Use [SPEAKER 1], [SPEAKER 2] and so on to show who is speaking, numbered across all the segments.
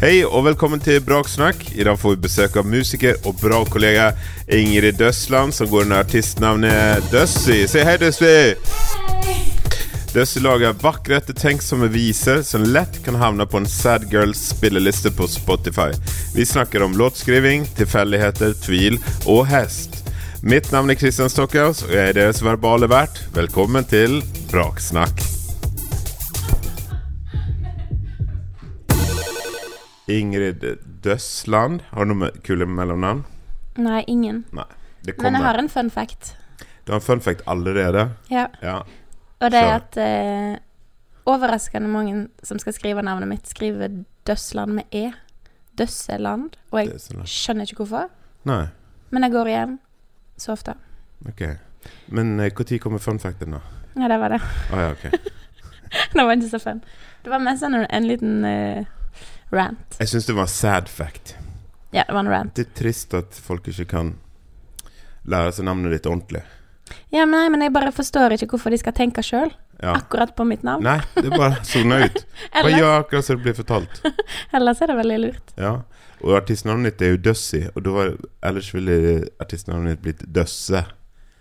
[SPEAKER 1] Hei og velkommen til Braksnakk. I dag får vi besøk av musiker og bra kollega Ingrid Døsland, som går under artistnavnet Døssi. Si hei, Døssi! Døssi lager vakre, ettertenksomme viser som lett kan havne på en Sad Girls spilleliste på Spotify. Vi snakker om låtskriving, tilfeldigheter, tvil og hest. Mitt navn er Christian Stockhaus, og jeg er deres verbale vert. Velkommen til Braksnakk. Ingrid Døsland. Har du noe med- kule mellomnavn?
[SPEAKER 2] Nei, ingen.
[SPEAKER 1] Nei. Det
[SPEAKER 2] Men jeg har
[SPEAKER 1] kommer.
[SPEAKER 2] en fun fact.
[SPEAKER 1] Du har en fun fact allerede.
[SPEAKER 2] Ja.
[SPEAKER 1] Ja.
[SPEAKER 2] Og det er
[SPEAKER 1] Kjør.
[SPEAKER 2] at eh, overraskende mange som skal skrive navnet mitt, skriver Døsland med E. Døsseland. Og jeg
[SPEAKER 1] Døsland.
[SPEAKER 2] skjønner ikke hvorfor,
[SPEAKER 1] Nei,
[SPEAKER 2] men jeg går igjen så ofte.
[SPEAKER 1] ok. Men eh, når kommer fun facten, da?
[SPEAKER 2] Ja, det var det.
[SPEAKER 1] Å ja, ok.
[SPEAKER 2] det var ikke så fun. Det var mest en, en liten eh, rant.
[SPEAKER 1] Jeg syns det var en sad fact.
[SPEAKER 2] Ja, det var en rant.
[SPEAKER 1] Det er trist at folk ikke kan lære seg navnet ditt ordentlig.
[SPEAKER 2] Ja, men nei, men jeg bare forstår ikke hvorfor de skal tenke sjøl
[SPEAKER 1] Ja.
[SPEAKER 2] akkurat på mitt navn.
[SPEAKER 1] Nei, det er bare sona ut. Bare
[SPEAKER 2] Ellers,
[SPEAKER 1] gjør akkurat som det blir fortalt.
[SPEAKER 2] ellers er det veldig lurt.
[SPEAKER 1] Ja. Og artistnavnet ditt er jo Døssi, og da var, ellers ville artistnavnet ditt blitt Døsse.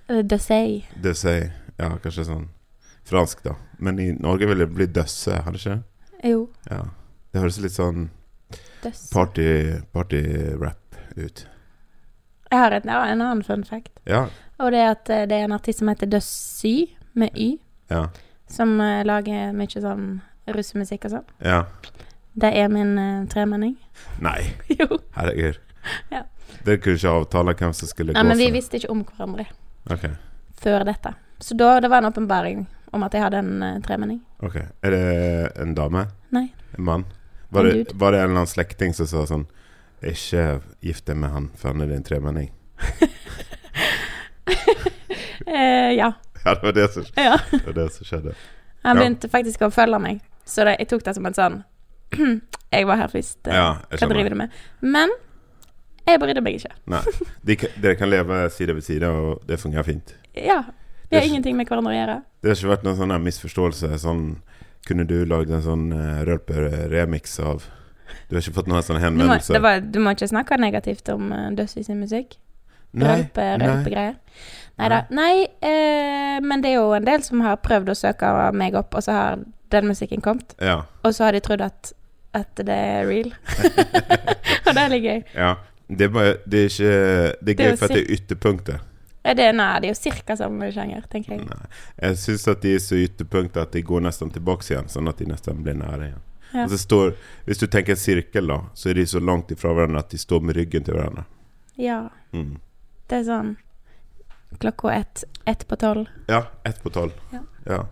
[SPEAKER 2] Eh, Døssei.
[SPEAKER 1] Døsse, ja, kanskje sånn fransk, da. Men i Norge ville det bli døsse, har det ikke?
[SPEAKER 2] Jo,
[SPEAKER 1] Ja. Det høres litt sånn
[SPEAKER 2] døss.
[SPEAKER 1] party- party-rap ut.
[SPEAKER 2] Jeg har et, ja, en annen fun fact.
[SPEAKER 1] Ja.
[SPEAKER 2] Og det er at eh, det er en artist som heter Døssy, med Y,
[SPEAKER 1] Ja.
[SPEAKER 2] som eh, lager mye sånn russemusikk og sånn.
[SPEAKER 1] ja.
[SPEAKER 2] Det er min eh, tremenning.
[SPEAKER 1] Nei,
[SPEAKER 2] jo.
[SPEAKER 1] herregud.
[SPEAKER 2] Ja.
[SPEAKER 1] Dere kunne ikke avtale hvem som skulle
[SPEAKER 2] Nei,
[SPEAKER 1] gå
[SPEAKER 2] men vi
[SPEAKER 1] for det.
[SPEAKER 2] visste ikke om hverandre
[SPEAKER 1] Ok,
[SPEAKER 2] før dette. Så da, det var en åpenbaring om at jeg hadde en eh, tremenning.
[SPEAKER 1] ok. Er det en dame?
[SPEAKER 2] Nei.
[SPEAKER 1] En mann? Var
[SPEAKER 2] En
[SPEAKER 1] det,
[SPEAKER 2] dude.
[SPEAKER 1] var det en eller annen slekting som sa sånn Ikke gift deg med han, for han er din tremenning.
[SPEAKER 2] Eh, ja.
[SPEAKER 1] Ja, det var det som,
[SPEAKER 2] ja.
[SPEAKER 1] det var det som skjedde.
[SPEAKER 2] Han
[SPEAKER 1] Ja.
[SPEAKER 2] begynte faktisk å følge meg, så det, jeg tok det som en sånn Jeg var her først. eh,
[SPEAKER 1] Ja, jeg
[SPEAKER 2] Hva driver
[SPEAKER 1] skjønner.
[SPEAKER 2] du med? Men jeg brydde meg ikke.
[SPEAKER 1] Nei. De, kan- dere kan leve side ved side, og det fungerer fint.
[SPEAKER 2] Ja. Vi har
[SPEAKER 1] Det-
[SPEAKER 2] ingenting med hverandre å gjøre.
[SPEAKER 1] Det har ikke vært noen sånn her misforståelse sånn Kunne du lagd en sånn uh, rølper-remix av Du har ikke fått noen sånn
[SPEAKER 2] Du må,
[SPEAKER 1] henvendelse?
[SPEAKER 2] det var, du må ikke snakke negativt om uh, Døssi sin musikk.
[SPEAKER 1] nei,
[SPEAKER 2] Rølpe,
[SPEAKER 1] nei,
[SPEAKER 2] rølpegreier. Nei da. Nei, eh, men det er jo en del som har prøvd å søke meg opp, og så har den musikken kommet.
[SPEAKER 1] ja,
[SPEAKER 2] Og så har de trodd at, at det er real. og det er litt gøy.
[SPEAKER 1] ja. Det er bare Det er ikke Det er
[SPEAKER 2] Det er
[SPEAKER 1] gøy
[SPEAKER 2] jo
[SPEAKER 1] for at det er ytterpunktet.
[SPEAKER 2] Er Det, nei, det er jo cirka samme sjanger, tenker jeg.
[SPEAKER 1] Nei. Jeg syns at de er så ytterpunktet at de går nesten tilbake igjen, sånn at de nesten blir nære igjen.
[SPEAKER 2] Ja.
[SPEAKER 1] Og så står, hvis du tenker en sirkel, da, så er de så langt ifra hverandre at de står med ryggen til hverandre.
[SPEAKER 2] Ja.
[SPEAKER 1] Mm.
[SPEAKER 2] Det er sånn klokka ett, ett på tolv.
[SPEAKER 1] Ja, ett på tolv.
[SPEAKER 2] Ja.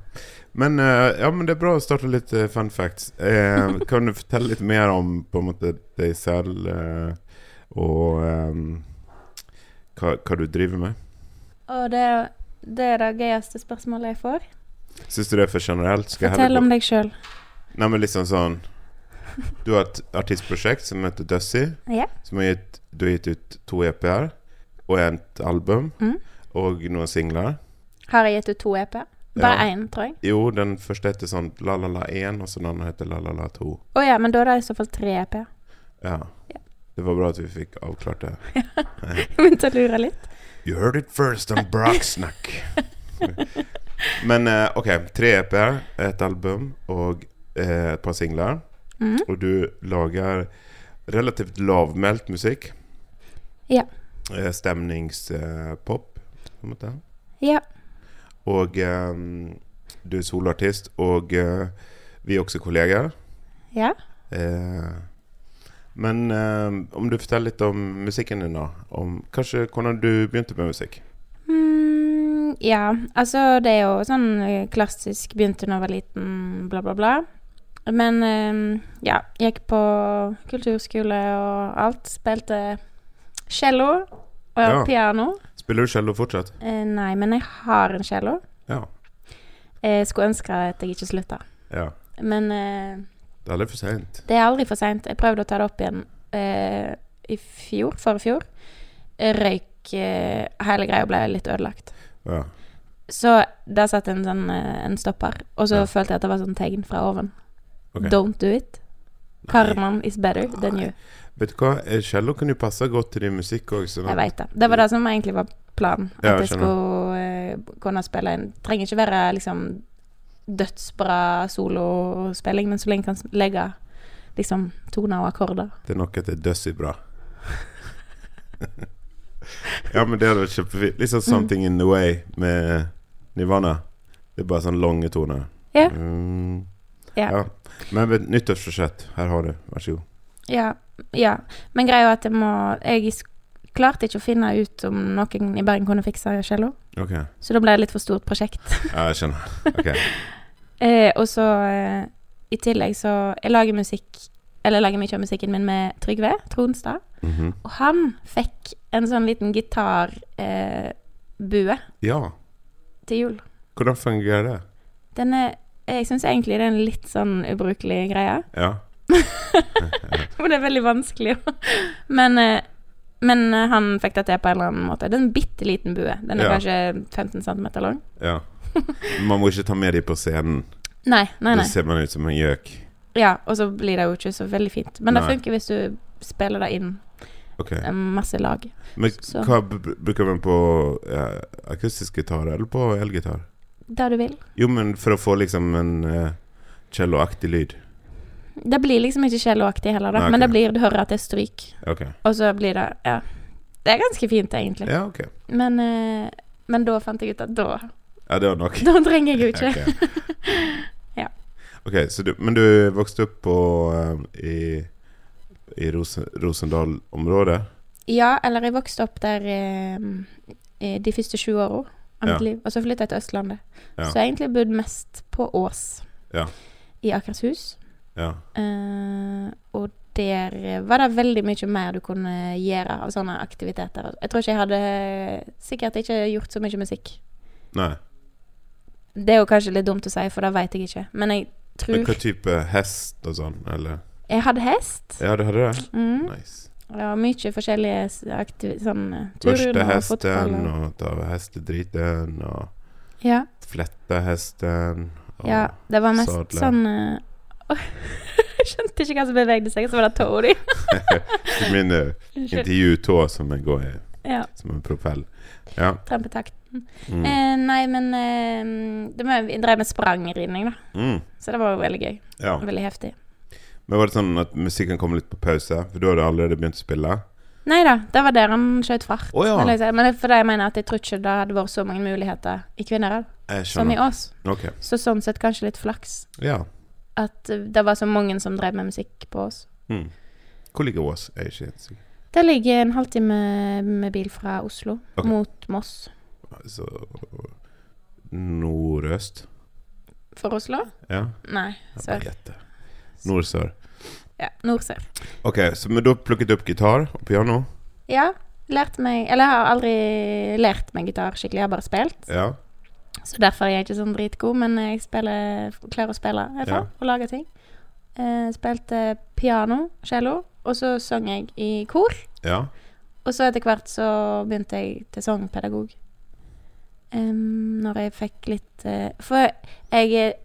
[SPEAKER 1] Men, eh, ja, men det er bra å starte litt eh, fun facts. Eh, kan du fortelle litt mer om på en måte deg selv eh, og eh, hva, hva du driver med?
[SPEAKER 2] Og det, det er det gøyeste spørsmålet jeg får.
[SPEAKER 1] Syns du det er for generelt? Skal jeg
[SPEAKER 2] Fortell
[SPEAKER 1] heller
[SPEAKER 2] om
[SPEAKER 1] gå-
[SPEAKER 2] deg sjøl.
[SPEAKER 1] Nei, men liksom sånn Du har et artistprosjekt som heter Dussie.
[SPEAKER 2] Ja.
[SPEAKER 1] Som har gitt, du har gitt ut E to EP-er og et album
[SPEAKER 2] Mm.
[SPEAKER 1] og noen singler.
[SPEAKER 2] Har jeg gitt ut to EP?
[SPEAKER 1] Ja.
[SPEAKER 2] Bare én, tror jeg.
[SPEAKER 1] Jo, den første heter sånn La La La 1, og så den andre heter La La La 2.
[SPEAKER 2] Å ja, men da er det i så fall tre E EP.
[SPEAKER 1] Ja.
[SPEAKER 2] Ja.
[SPEAKER 1] Det var bra at vi fikk avklart det.
[SPEAKER 2] Begynte å lure litt.
[SPEAKER 1] You heard it first on Brocksnack. Men eh, ok, tre EP-er, et album og eh, et par singler.
[SPEAKER 2] Mhm.
[SPEAKER 1] Og du lager relativt lavmælt musikk.
[SPEAKER 2] Ja.
[SPEAKER 1] Eh, Stemningspop, eh, på en måte.
[SPEAKER 2] Ja.
[SPEAKER 1] Og ehm, du er soloartist, og eh, vi er også kolleger.
[SPEAKER 2] Ja.
[SPEAKER 1] Eh, men eh, om du forteller litt om musikken din, da. Om kanskje hvordan du begynte med musikk.
[SPEAKER 2] Mm, ja, altså det er jo sånn eh, klassisk begynte da jeg var liten, bla, bla, bla. Men eh, ja, gikk på kulturskole og alt. Spilte cello og
[SPEAKER 1] Ja.
[SPEAKER 2] piano.
[SPEAKER 1] Spiller du cello fortsatt?
[SPEAKER 2] Eh, nei, men jeg har en cello.
[SPEAKER 1] Ja.
[SPEAKER 2] Jeg skulle ønske at jeg ikke slutta.
[SPEAKER 1] ja.
[SPEAKER 2] Men eh,
[SPEAKER 1] Det er aldri for seint.
[SPEAKER 2] Det er aldri for seint. Jeg prøvde å ta det opp igjen eh, i fjor, forrige fjor. Røyk eh, Hele greia ble litt ødelagt.
[SPEAKER 1] Ja.
[SPEAKER 2] Så der satt en, sånn, eh, en stopper, og så
[SPEAKER 1] Ja.
[SPEAKER 2] følte jeg at det var sånn tegn fra oven.
[SPEAKER 1] Ok.
[SPEAKER 2] Don't do it. Karmaen is better than you.
[SPEAKER 1] Vet du hva, Eh, cello kan jo passe godt til din musikk òg. Sånn
[SPEAKER 2] Jeg
[SPEAKER 1] at-
[SPEAKER 2] veit det. Det var det som egentlig var planen. At
[SPEAKER 1] Ja,
[SPEAKER 2] jeg
[SPEAKER 1] skjønner.
[SPEAKER 2] skulle eh, kunne spille en Trenger ikke være liksom dødsbra solospilling, men så lenge kan s- legge liksom toner og akkorder.
[SPEAKER 1] det er noe at det er døssig bra. ja, men det hadde vært kjempefint. Litt sånn 'Something in the Way' med Nirvana. Det er bare sånn lange toner.
[SPEAKER 2] Ja.
[SPEAKER 1] Mm.
[SPEAKER 2] Ja.
[SPEAKER 1] ja. Men ved nyttårsforsett, her har du. Vær så god.
[SPEAKER 2] Ja. ja. Men greia er at jeg må Jeg s- klarte ikke å finne ut om noen i Bergen kunne fikse cello,
[SPEAKER 1] Ok.
[SPEAKER 2] så da ble det litt for stort prosjekt.
[SPEAKER 1] Ja, jeg skjønner. Ok.
[SPEAKER 2] Eh, og så eh, i tillegg så Jeg lager musikk Eller jeg lager mye av musikken min med Trygve Tronstad.
[SPEAKER 1] Mhm.
[SPEAKER 2] Og han fikk en sånn liten gitarbue eh, bue
[SPEAKER 1] Ja.
[SPEAKER 2] til jul.
[SPEAKER 1] Hvordan fungerer det?
[SPEAKER 2] Den er Jeg syns egentlig det er en litt sånn ubrukelig greie.
[SPEAKER 1] Ja.
[SPEAKER 2] For det er veldig vanskelig å Men eh, men eh, han fikk det til på en eller annen måte. Det er en bitte liten bue. Den er
[SPEAKER 1] Ja.
[SPEAKER 2] kanskje 15 cm lang.
[SPEAKER 1] ja. Man må ikke ta med dem på scenen.
[SPEAKER 2] Nei, nei,
[SPEAKER 1] Da
[SPEAKER 2] nei.
[SPEAKER 1] ser man ut som en gjøk.
[SPEAKER 2] Ja, og så blir det jo ikke så veldig fint. Men det
[SPEAKER 1] Nei.
[SPEAKER 2] funker hvis du spiller det inn
[SPEAKER 1] Ok.
[SPEAKER 2] eh, masse lag.
[SPEAKER 1] Men
[SPEAKER 2] Så-
[SPEAKER 1] hva b- b- bruker man på eh, akustisk gitar eller på elgitar?
[SPEAKER 2] Det du vil.
[SPEAKER 1] Jo, men for å få liksom en eh, celloaktig lyd.
[SPEAKER 2] Det blir liksom ikke celloaktig heller, da.
[SPEAKER 1] Nei, ok.
[SPEAKER 2] Men det blir, du hører at det er stryk.
[SPEAKER 1] Ok.
[SPEAKER 2] Og så blir det Ja. Det er ganske fint, egentlig.
[SPEAKER 1] Ja, ok.
[SPEAKER 2] Men, eh, men da fant jeg ut at da
[SPEAKER 1] Ja, det var nok.
[SPEAKER 2] Da trenger jeg jo ikke.
[SPEAKER 1] Ok.
[SPEAKER 2] Ja.
[SPEAKER 1] Ok, så du, men du vokste opp på eh, i, i Rosen, Rosendal-området?
[SPEAKER 2] Ja, eller jeg vokste opp der eh, eh, de første sju åra av mitt
[SPEAKER 1] Ja.
[SPEAKER 2] liv. Og så flytta jeg til Østlandet.
[SPEAKER 1] Ja.
[SPEAKER 2] Så jeg har egentlig bodd mest på Ås.
[SPEAKER 1] Ja.
[SPEAKER 2] I Akershus.
[SPEAKER 1] Ja.
[SPEAKER 2] Eh, og der var det veldig mye mer du kunne gjøre av sånne aktiviteter. Jeg tror ikke jeg hadde sikkert ikke gjort så mye musikk.
[SPEAKER 1] Nei.
[SPEAKER 2] Det er jo kanskje litt dumt å si, for det veit jeg ikke. Men jeg
[SPEAKER 1] Men hva
[SPEAKER 2] tror
[SPEAKER 1] type hest og sånn, eller?
[SPEAKER 2] Jeg hadde hest.
[SPEAKER 1] Ja, du hadde det?
[SPEAKER 2] Mm.
[SPEAKER 1] Nice.
[SPEAKER 2] Det var mye forskjellige s- aktiv... sånn eh,
[SPEAKER 1] Børste
[SPEAKER 2] turrunder og fotball.
[SPEAKER 1] hesten,
[SPEAKER 2] og-
[SPEAKER 1] og ta hestedriten, og
[SPEAKER 2] Ja,
[SPEAKER 1] flette hesten. Og...
[SPEAKER 2] ja. Det var mest
[SPEAKER 1] sadle.
[SPEAKER 2] sånn eh, Oi, Jeg skjønte ikke hva som bevegde seg, så var det tåa di.
[SPEAKER 1] Min eh, intervjutå som jeg går i,
[SPEAKER 2] Ja.
[SPEAKER 1] som en propell. Ja.
[SPEAKER 2] Trampetakt.
[SPEAKER 1] Mm.
[SPEAKER 2] Eh, nei, men eh, det var, jeg drev med sprangridning, da.
[SPEAKER 1] Mm.
[SPEAKER 2] Så det var jo veldig gøy.
[SPEAKER 1] ja.
[SPEAKER 2] Veldig heftig.
[SPEAKER 1] Men var det sånn at musikken kom litt på pause? For da hadde du allerede begynt å spille?
[SPEAKER 2] Nei da, det var der han skjøt fart.
[SPEAKER 1] Å ja.
[SPEAKER 2] vil jeg si. Men det er fordi jeg mener at jeg tror ikke det hadde vært så mange muligheter i Kvinnherad
[SPEAKER 1] Jeg
[SPEAKER 2] som i
[SPEAKER 1] skjønner.
[SPEAKER 2] oss.
[SPEAKER 1] Ok.
[SPEAKER 2] Så sånn sett kanskje litt flaks
[SPEAKER 1] Ja.
[SPEAKER 2] at eh, det var så mange som drev med musikk på oss.
[SPEAKER 1] Mm. Hvor ligger Ås? Jeg er ikke helt sikker.
[SPEAKER 2] Det ligger en halvtime med bil fra Oslo
[SPEAKER 1] Ok.
[SPEAKER 2] mot Moss.
[SPEAKER 1] Altså Nordøst?
[SPEAKER 2] For Oslo?
[SPEAKER 1] Ja.
[SPEAKER 2] Nei,
[SPEAKER 1] Jeg bare
[SPEAKER 2] sør.
[SPEAKER 1] gjetter. Nord-sør.
[SPEAKER 2] Ja, Nordsør.
[SPEAKER 1] Ok, så men da plukket du opp gitar og piano?
[SPEAKER 2] Ja, lærte meg Eller jeg har aldri lært meg gitar skikkelig, jeg har bare spilt.
[SPEAKER 1] Ja.
[SPEAKER 2] Så derfor er jeg ikke sånn dritgod, men jeg spiller, klarer å spille i hvert fall, og lage ting. Eh, spilte piano, cello, og så sang jeg i kor.
[SPEAKER 1] Ja.
[SPEAKER 2] Og så etter hvert så begynte jeg til sangpedagog. Em, når jeg fikk litt eh, For jeg eh,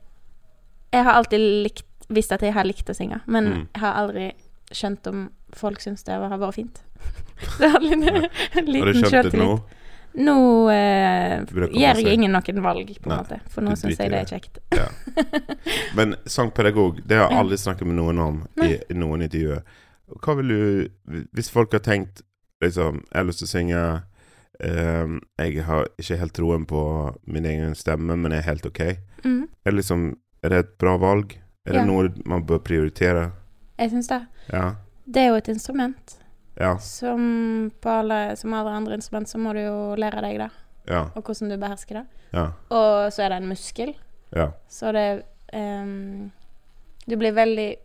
[SPEAKER 2] Jeg har alltid likt, visst at jeg har likt å synge, men
[SPEAKER 1] Mm.
[SPEAKER 2] jeg har aldri skjønt om folk syns det har vært fint. Så jeg har litt, en
[SPEAKER 1] Har du skjønt det
[SPEAKER 2] liten
[SPEAKER 1] nå?
[SPEAKER 2] sjøltillit. Nå eh,
[SPEAKER 1] Burde komme
[SPEAKER 2] gjør
[SPEAKER 1] seg.
[SPEAKER 2] jeg ingen noen valg, på en
[SPEAKER 1] Nei,
[SPEAKER 2] måte. For
[SPEAKER 1] du
[SPEAKER 2] nå syns
[SPEAKER 1] driter i
[SPEAKER 2] jeg det er
[SPEAKER 1] det.
[SPEAKER 2] kjekt.
[SPEAKER 1] Men sangpedagog, det har jeg
[SPEAKER 2] Ja.
[SPEAKER 1] aldri snakket med noen om i,
[SPEAKER 2] Nei.
[SPEAKER 1] i noen intervjuer. Hva vil du Hvis folk har tenkt liksom Jeg har lyst til å synge ehm, Jeg har ikke helt troen på min egen stemme, men er helt ok.
[SPEAKER 2] Mm,
[SPEAKER 1] Er, liksom, er det et bra valg? Er det
[SPEAKER 2] Ja.
[SPEAKER 1] noe man bør prioritere?
[SPEAKER 2] jeg syns det.
[SPEAKER 1] Ja.
[SPEAKER 2] Det er jo et instrument.
[SPEAKER 1] Ja.
[SPEAKER 2] Som på alle, som alle andre instrument så må du jo lære deg det,
[SPEAKER 1] Ja.
[SPEAKER 2] og hvordan du behersker det.
[SPEAKER 1] Ja.
[SPEAKER 2] Og så er det en muskel.
[SPEAKER 1] ja.
[SPEAKER 2] Så det ehm, Du blir veldig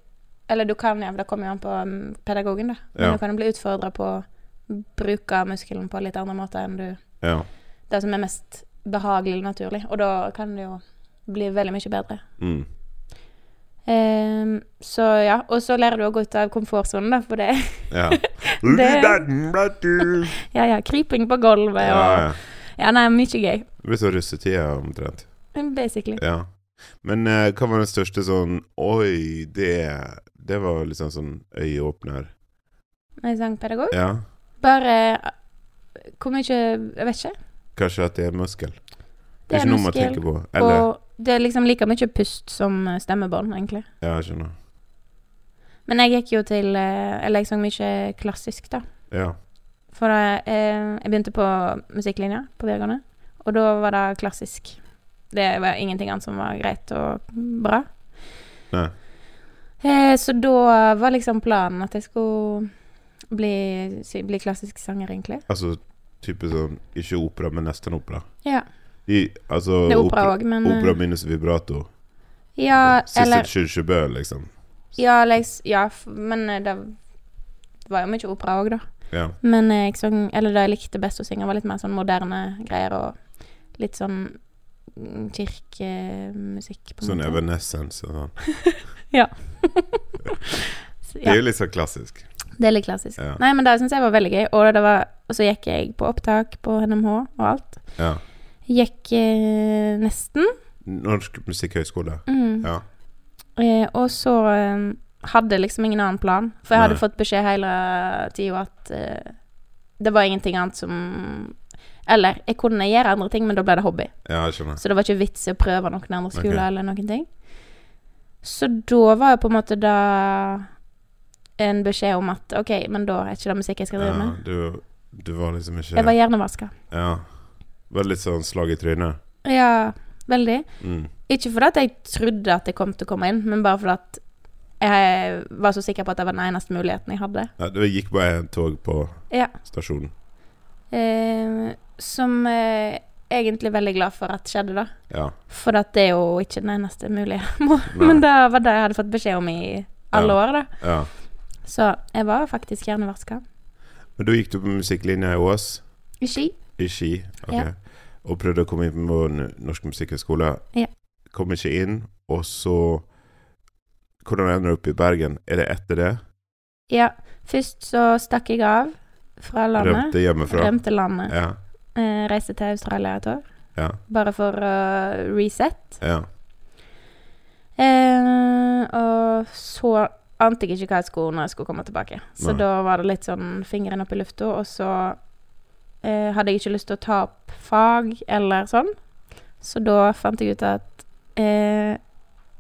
[SPEAKER 2] Eller du kan jo, det kommer jo an på mm, pedagogen, da. Men
[SPEAKER 1] Ja.
[SPEAKER 2] du kan jo bli utfordra på å bruke muskelen på litt andre måter enn du
[SPEAKER 1] ja.
[SPEAKER 2] Det som er mest behagelig og naturlig. Og da kan det jo bli veldig mye bedre.
[SPEAKER 1] Mm.
[SPEAKER 2] Ehm, så ja. Og så lærer du å gå ut av komfortsonen, da, for det
[SPEAKER 1] ja.
[SPEAKER 2] Ja, ja, kryping på gulvet
[SPEAKER 1] ja,
[SPEAKER 2] og
[SPEAKER 1] ja.
[SPEAKER 2] Ja, nei, mye gøy.
[SPEAKER 1] Det blir så russetida omtrent.
[SPEAKER 2] Basically.
[SPEAKER 1] Ja. Men eh, hva var den største sånn Oi, det, Det var liksom sånn øyeåpner.
[SPEAKER 2] En sangpedagog.
[SPEAKER 1] Ja.
[SPEAKER 2] Bare eh, Hvor mye Jeg vet ikke.
[SPEAKER 1] Kanskje at det er muskel. Det
[SPEAKER 2] Det
[SPEAKER 1] er
[SPEAKER 2] er
[SPEAKER 1] ikke noe man
[SPEAKER 2] muskel,
[SPEAKER 1] tenker på. Eller
[SPEAKER 2] Og det er liksom like mye pust som eh, stemmebånd, egentlig.
[SPEAKER 1] Ja, jeg skjønner.
[SPEAKER 2] Men jeg gikk jo til eh, Eller jeg sang mye klassisk, da.
[SPEAKER 1] Ja.
[SPEAKER 2] For da, eh, jeg begynte på musikklinja på videregående, og da var det klassisk. Det var ingenting annet som var greit og bra.
[SPEAKER 1] Nei.
[SPEAKER 2] Eh, så da var liksom planen at jeg skulle bli, si- bli klassisk sanger, egentlig.
[SPEAKER 1] Altså type sånn Ikke opera, men nesten opera.
[SPEAKER 2] Ja.
[SPEAKER 1] I, altså
[SPEAKER 2] Det er opera òg, men eh,
[SPEAKER 1] opera minus vibrato.
[SPEAKER 2] Ja,
[SPEAKER 1] Sissel
[SPEAKER 2] eller
[SPEAKER 1] Kyrkjebø, liksom.
[SPEAKER 2] Ja, eller jeg s- ja, f- men eh, det var jo mye opera òg, da.
[SPEAKER 1] Ja.
[SPEAKER 2] Men eh, jeg sang Eller det jeg likte best å synge, var litt mer sånn moderne greier og litt sånn mm, kirkemusikk, på en
[SPEAKER 1] Sånn
[SPEAKER 2] måte.
[SPEAKER 1] Evanescence og sånn. Det
[SPEAKER 2] Ja,
[SPEAKER 1] er jo litt sånn klassisk.
[SPEAKER 2] det er litt klassisk.
[SPEAKER 1] Ja.
[SPEAKER 2] Nei, men det syns jeg var veldig gøy. Og, det var, og så gikk jeg på opptak på NMH og alt.
[SPEAKER 1] Ja.
[SPEAKER 2] Gikk eh, nesten.
[SPEAKER 1] Norsk musikkhøgskole.
[SPEAKER 2] Mm.
[SPEAKER 1] Ja.
[SPEAKER 2] Eh, og så eh, hadde jeg liksom ingen annen plan. For jeg hadde
[SPEAKER 1] Nei.
[SPEAKER 2] fått beskjed hele tida at eh, det var ingenting annet som Eller jeg kunne gjøre andre ting, men da ble det hobby.
[SPEAKER 1] ja, jeg skjønner.
[SPEAKER 2] Så det var ikke vits i å prøve noen andre skoler
[SPEAKER 1] Ok.
[SPEAKER 2] eller noen ting. Så da var jo på en måte da en beskjed om at OK, men da er ikke det musikk jeg skal drive
[SPEAKER 1] Ja,
[SPEAKER 2] med.
[SPEAKER 1] du, du var liksom ikke
[SPEAKER 2] Jeg var hjernevaska.
[SPEAKER 1] Ja. Var litt sånn slag i trynet.
[SPEAKER 2] Ja, veldig.
[SPEAKER 1] Mm.
[SPEAKER 2] Ikke fordi at jeg trodde at jeg kom til å komme inn, men bare fordi at jeg var så sikker på at det var den eneste muligheten jeg hadde.
[SPEAKER 1] Nei, det gikk bare en tog på
[SPEAKER 2] Ja.
[SPEAKER 1] stasjonen.
[SPEAKER 2] Eh, som eh, egentlig veldig glad for at skjedde, da.
[SPEAKER 1] Ja.
[SPEAKER 2] For at det er jo ikke den eneste mulige.
[SPEAKER 1] Nei.
[SPEAKER 2] Men det var det jeg hadde fått beskjed om i alle
[SPEAKER 1] Ja.
[SPEAKER 2] år, da.
[SPEAKER 1] ja.
[SPEAKER 2] Så jeg var faktisk hjernevaska.
[SPEAKER 1] Men da gikk du på musikklinja i Ås,
[SPEAKER 2] I Ski.
[SPEAKER 1] i Ski, ok.
[SPEAKER 2] Ja.
[SPEAKER 1] og prøvde å komme inn på N- Norsk musikkhøgskole.
[SPEAKER 2] Ja.
[SPEAKER 1] Kom ikke inn, og så Hvordan ender du opp i Bergen? Er det etter det?
[SPEAKER 2] Ja. Først så stakk jeg av fra landet.
[SPEAKER 1] Rømte hjemmefra?
[SPEAKER 2] Rømte landet.
[SPEAKER 1] Ja.
[SPEAKER 2] Eh, reiste til Australia et år,
[SPEAKER 1] Ja.
[SPEAKER 2] bare for å reset.
[SPEAKER 1] ja.
[SPEAKER 2] Eh, og så ante jeg ikke hva jeg skulle når jeg skulle komme tilbake. Så
[SPEAKER 1] Nei.
[SPEAKER 2] da var det litt sånn fingeren opp i lufta, og så eh, hadde jeg ikke lyst til å ta opp fag eller sånn. Så da fant jeg ut at eh,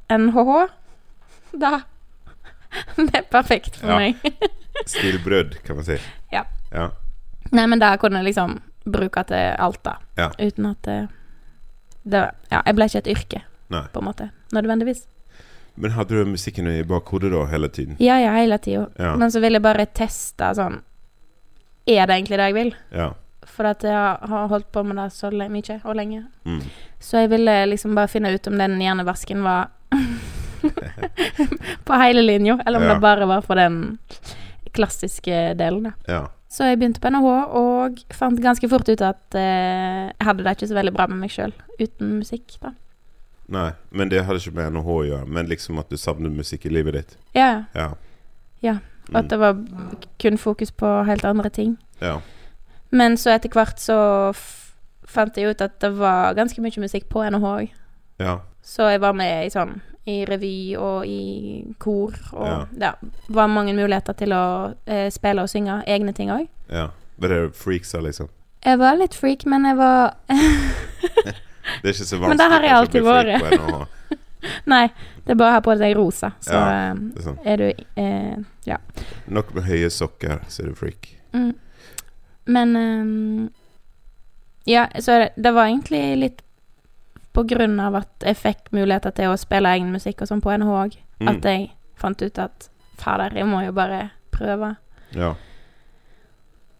[SPEAKER 2] NHH Da Det er perfekt for
[SPEAKER 1] Ja.
[SPEAKER 2] meg.
[SPEAKER 1] Stilbrudd, kan man si.
[SPEAKER 2] Ja.
[SPEAKER 1] ja.
[SPEAKER 2] Nei, men det kunne jeg liksom bruke til alt, da.
[SPEAKER 1] Ja.
[SPEAKER 2] Uten at det, det Ja, jeg ble ikke et yrke,
[SPEAKER 1] Nei.
[SPEAKER 2] på en måte. Nødvendigvis.
[SPEAKER 1] Men hadde du musikken i bakhodet da, hele tiden?
[SPEAKER 2] Ja, ja, hele tida.
[SPEAKER 1] Ja.
[SPEAKER 2] Men så vil jeg bare teste sånn Er det egentlig det jeg vil?
[SPEAKER 1] ja.
[SPEAKER 2] For at jeg har holdt på med det så le- mye og lenge.
[SPEAKER 1] Mm.
[SPEAKER 2] Så jeg ville liksom bare finne ut om den hjernevasken var på hele linja, eller om
[SPEAKER 1] Ja.
[SPEAKER 2] det bare var for den klassiske delen, da.
[SPEAKER 1] ja.
[SPEAKER 2] Så jeg begynte på NHH og fant ganske fort ut at eh, jeg hadde det ikke så veldig bra med meg sjøl uten musikk. da.
[SPEAKER 1] Nei, men det hadde ikke med NHH å gjøre, men liksom at du savnet musikk i livet ditt.
[SPEAKER 2] Ja,
[SPEAKER 1] Ja.
[SPEAKER 2] Ja, og
[SPEAKER 1] Mm.
[SPEAKER 2] at det var kun fokus på helt andre ting.
[SPEAKER 1] Ja.
[SPEAKER 2] Men så etter hvert så f fant jeg ut at det var ganske mye musikk på NHH òg.
[SPEAKER 1] Ja.
[SPEAKER 2] Så jeg var med i sånn i revy og i kor og ja.
[SPEAKER 1] Ja.
[SPEAKER 2] var mange muligheter til å eh, spille og synge egne ting òg.
[SPEAKER 1] ja. Var det freaksa, liksom?
[SPEAKER 2] Jeg var litt freak, men jeg var
[SPEAKER 1] Det er ikke så vanskelig.
[SPEAKER 2] Men det har jeg
[SPEAKER 1] kanskje å bli freak
[SPEAKER 2] alltid
[SPEAKER 1] på NHH.
[SPEAKER 2] Nei, det er bare å ha på deg rosa, så
[SPEAKER 1] Ja.
[SPEAKER 2] eh,
[SPEAKER 1] Det er sånn.
[SPEAKER 2] er du eh, Ja.
[SPEAKER 1] Nok med høye sokker, så er du freak.
[SPEAKER 2] Mm. Men ehm, Ja, så er det- det var egentlig litt på grunn av at jeg fikk muligheter til å spille egen musikk og sånn på NHH òg,
[SPEAKER 1] Mm.
[SPEAKER 2] at jeg fant ut at fader, jeg må jo bare prøve.
[SPEAKER 1] Mm. Ja.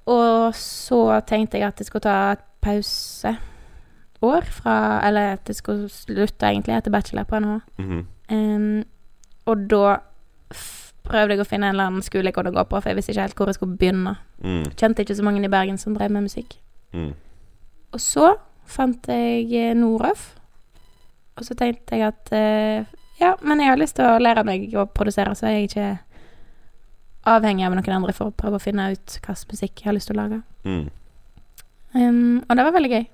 [SPEAKER 2] Og så tenkte jeg at jeg skulle ta et pauseår fra Eller at jeg skulle slutte, egentlig, etter bachelor på NHH.
[SPEAKER 1] Mhm.
[SPEAKER 2] Ehm, og da f prøvde jeg å finne en eller annen skole jeg kunne gå på, for jeg visste ikke helt hvor jeg skulle begynne.
[SPEAKER 1] mm.
[SPEAKER 2] Kjente ikke så mange i Bergen som drev med musikk.
[SPEAKER 1] Mm.
[SPEAKER 2] Og så fant jeg eh, Norøf. Og så tenkte jeg at eh, ja, men jeg har lyst til å lære meg å produsere, så jeg er ikke avhengig av noen andre for å prøve å finne ut hva slags musikk jeg har lyst til å lage.
[SPEAKER 1] Mm.
[SPEAKER 2] Um, og det var veldig gøy.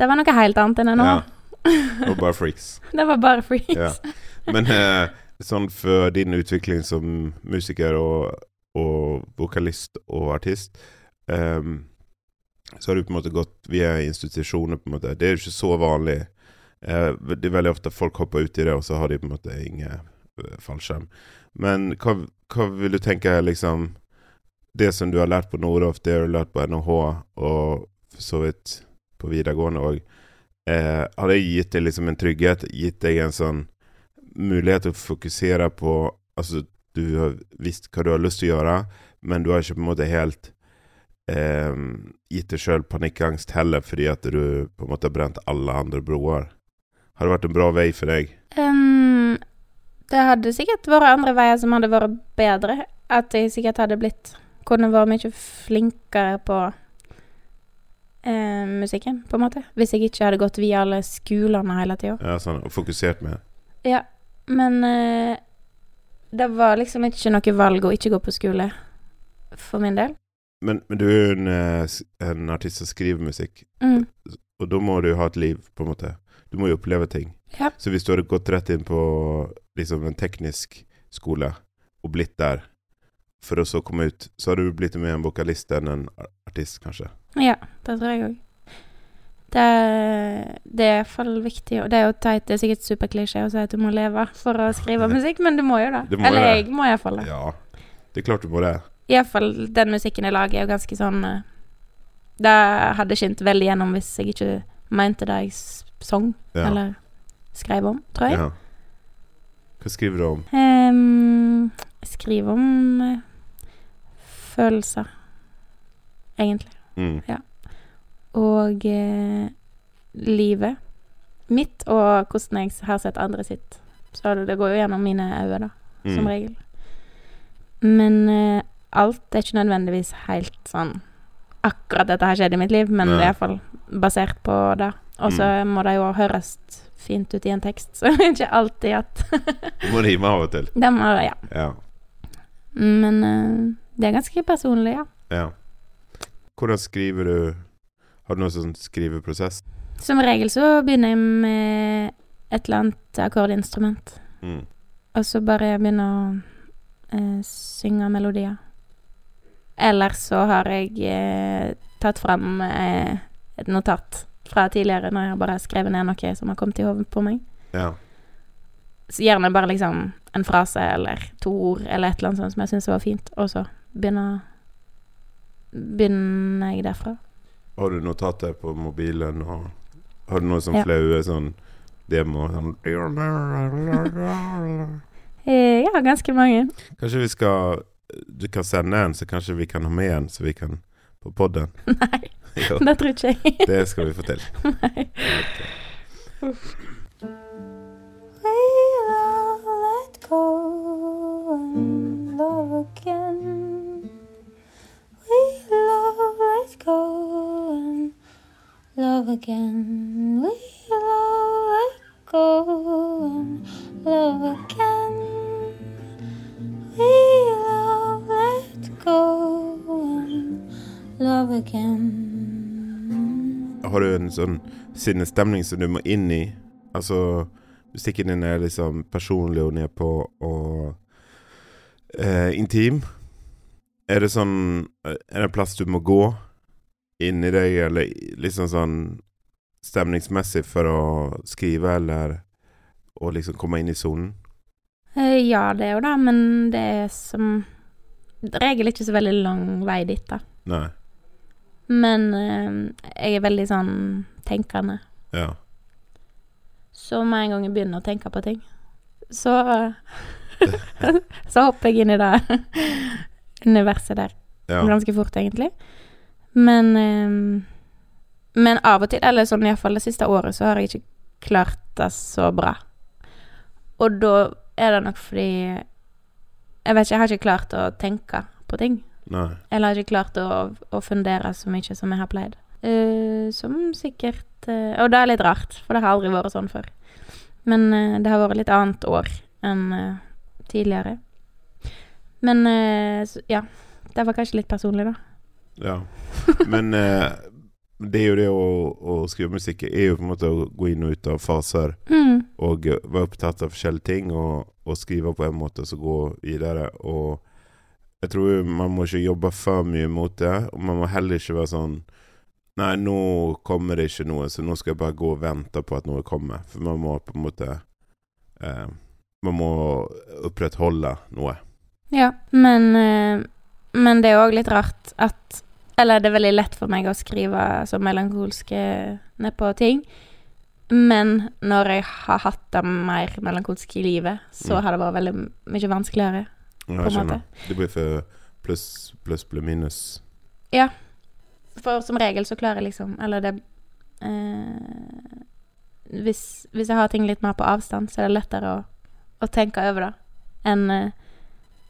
[SPEAKER 2] Det var noe helt annet enn NHH.
[SPEAKER 1] Ja. Og bare freaks.
[SPEAKER 2] Det var bare freaks.
[SPEAKER 1] Ja. Men eh, sånn for din utvikling som musiker og, og vokalist og artist ehm, Så har du på en måte gått via institusjoner, på en måte. Det er jo ikke så vanlig. Eh, det er veldig ofte folk hopper ut i det, og så har de på en måte ingen eh, fallskjerm. Men hva, hva vil du tenke er liksom Det som du har lært på Noroff, det har du lært på NHH, og for så vidt på videregående òg, eh, har det gitt deg liksom en trygghet? Gitt deg en sånn mulighet til å fokusere på Altså, du har visst hva du har lyst til å gjøre, men du har ikke på en måte helt eh, gitt deg sjøl panikkangst heller, fordi at du på en måte har brent alle andre broer. Har det vært en bra vei for deg?
[SPEAKER 2] Ehm, det hadde sikkert vært andre veier som hadde vært bedre. At jeg sikkert hadde blitt Kunne vært mye flinkere på eh, musikken, på en måte. Hvis jeg ikke hadde gått via alle skolene hele tida.
[SPEAKER 1] Ja, sånn, og fokusert med
[SPEAKER 2] Ja, men eh, det var liksom ikke noe valg å ikke gå på skole for min del.
[SPEAKER 1] Men, men du er jo en, eh, s- en artist som skriver musikk,
[SPEAKER 2] Mm.
[SPEAKER 1] og da må du ha et liv, på en måte. Du må jo oppleve ting.
[SPEAKER 2] Ja.
[SPEAKER 1] Så hvis du hadde gått rett inn på liksom, en teknisk skole og blitt der, for å så komme ut, så hadde du blitt mer en vokalist enn en ar- artist, kanskje.
[SPEAKER 2] Ja, det tror jeg òg. Det, det er iallfall viktig. Og det er jo teit, det er sikkert superklisjé å si at du må leve for å skrive musikk, men du må jo det.
[SPEAKER 1] Du må
[SPEAKER 2] Eller
[SPEAKER 1] det.
[SPEAKER 2] jeg må iallfall det.
[SPEAKER 1] Ja, det er klart du må det.
[SPEAKER 2] Iallfall den musikken jeg lager, er jo ganske sånn eh, Det hadde skint veldig gjennom hvis jeg ikke mente det jeg s- sang
[SPEAKER 1] Ja.
[SPEAKER 2] eller skrev om, tror jeg.
[SPEAKER 1] ja. Hva skriver du om?
[SPEAKER 2] Ehm, jeg skriver om eh, følelser, egentlig.
[SPEAKER 1] Mm.
[SPEAKER 2] og eh, livet mitt, og hvordan jeg har sett andre sitt. Så det går jo gjennom mine øyne, da, som
[SPEAKER 1] Mm.
[SPEAKER 2] regel. Men eh, alt er ikke nødvendigvis helt sånn Akkurat dette har skjedd i mitt liv, men
[SPEAKER 1] Nei. Mm.
[SPEAKER 2] det er iallfall basert på det. Og så må det jo høres fint ut i en tekst, så det er ikke alltid at
[SPEAKER 1] Du må rime av og til.
[SPEAKER 2] det må, ja.
[SPEAKER 1] Ja.
[SPEAKER 2] Men eh, det er ganske personlig, ja.
[SPEAKER 1] ja. Hvordan skriver du Har du noen sånn skriveprosess?
[SPEAKER 2] Som regel så begynner jeg med et eller annet akkordinstrument.
[SPEAKER 1] Mm.
[SPEAKER 2] Og så bare begynne å eh, synge melodier. Eller så har jeg eh, tatt fram eh, et notat fra tidligere, når jeg bare har skrevet ned noe som har kommet i hodet på meg.
[SPEAKER 1] Ja.
[SPEAKER 2] Så gjerne bare liksom en frase eller to ord eller et eller annet sånt som jeg syns var fint, og så begynner Begynner jeg derfra.
[SPEAKER 1] Har du notater på mobilen? Og har du noe sånn
[SPEAKER 2] Ja.
[SPEAKER 1] flaue sånn demo? Sånn
[SPEAKER 2] Eh, ja, ganske mange.
[SPEAKER 1] Kanskje vi skal Du kan sende en, så kanskje vi kan ha med en, så vi kan på podden.
[SPEAKER 2] Nei,
[SPEAKER 1] Jo,
[SPEAKER 2] det tror ikke jeg.
[SPEAKER 1] det skal vi få til.
[SPEAKER 2] Nei.
[SPEAKER 3] Leila, let go and love again. Leila, let go and love again. Leila, let go and love again. Leila, let go and love again.
[SPEAKER 1] Har du en sånn sinnestemning som du må inn i? Altså, musikken din er liksom personlig og nedpå og eh, intim. Er det sånn Er det en plass du må gå inn i deg, eller liksom sånn stemningsmessig for å skrive, eller å liksom komme inn i sonen?
[SPEAKER 2] Eh, Ja, det er jo det, men det er som regel ikke så veldig lang vei dit, da.
[SPEAKER 1] Nei.
[SPEAKER 2] Men eh, jeg er veldig sånn tenkende.
[SPEAKER 1] Ja.
[SPEAKER 2] Så med en gang jeg begynner å tenke på ting, så Så hopper jeg inn i det universet der
[SPEAKER 1] ja.
[SPEAKER 2] ganske fort, egentlig. Men eh, Men av og til, eller sånn iallfall det siste året, så har jeg ikke klart det så bra. Og da er det nok fordi Jeg vet ikke, jeg har ikke klart å tenke på ting.
[SPEAKER 1] Nei.
[SPEAKER 2] Eller har ikke klart å, å fundere så mye som jeg har pleid. Eh, som sikkert eh, Og det er litt rart, for det har aldri vært sånn før. Men eh, det har vært litt annet år enn eh, tidligere. Men eh, så, ja. Det var kanskje litt personlig, da.
[SPEAKER 1] Ja. Men eh, det er jo det å, å skrive musikk er jo på en måte å gå inn og ut av faser
[SPEAKER 2] Mm.
[SPEAKER 1] og eh, være opptatt av forskjellige ting og, och skriva på en måte och så gå vidare. Och jag tror man måste jobbe for mye mot det. Og man må heller ikke være sånn Nei, nå kommer det ikke noe, så nå skal jeg bare gå og vente på at noe kommer. For man må på en måte eh, Man må opprettholde noe.
[SPEAKER 2] Ja, men, eh, men det er òg litt rart at Eller det er veldig lett for meg å skrive så melankolske nedpå ting. Men når jeg har hatt det mer melankolsk i livet, så
[SPEAKER 1] Mm.
[SPEAKER 2] har det vært veldig m- mye vanskeligere.
[SPEAKER 1] Ja,
[SPEAKER 2] På en
[SPEAKER 1] jeg skjønner.
[SPEAKER 2] måte.
[SPEAKER 1] Det blir for pluss, pluss blir minus.
[SPEAKER 2] For som regel så klarer jeg liksom Eller det eh, hvis, hvis jeg har ting litt mer på avstand, så er det lettere å, å tenke over det enn eh,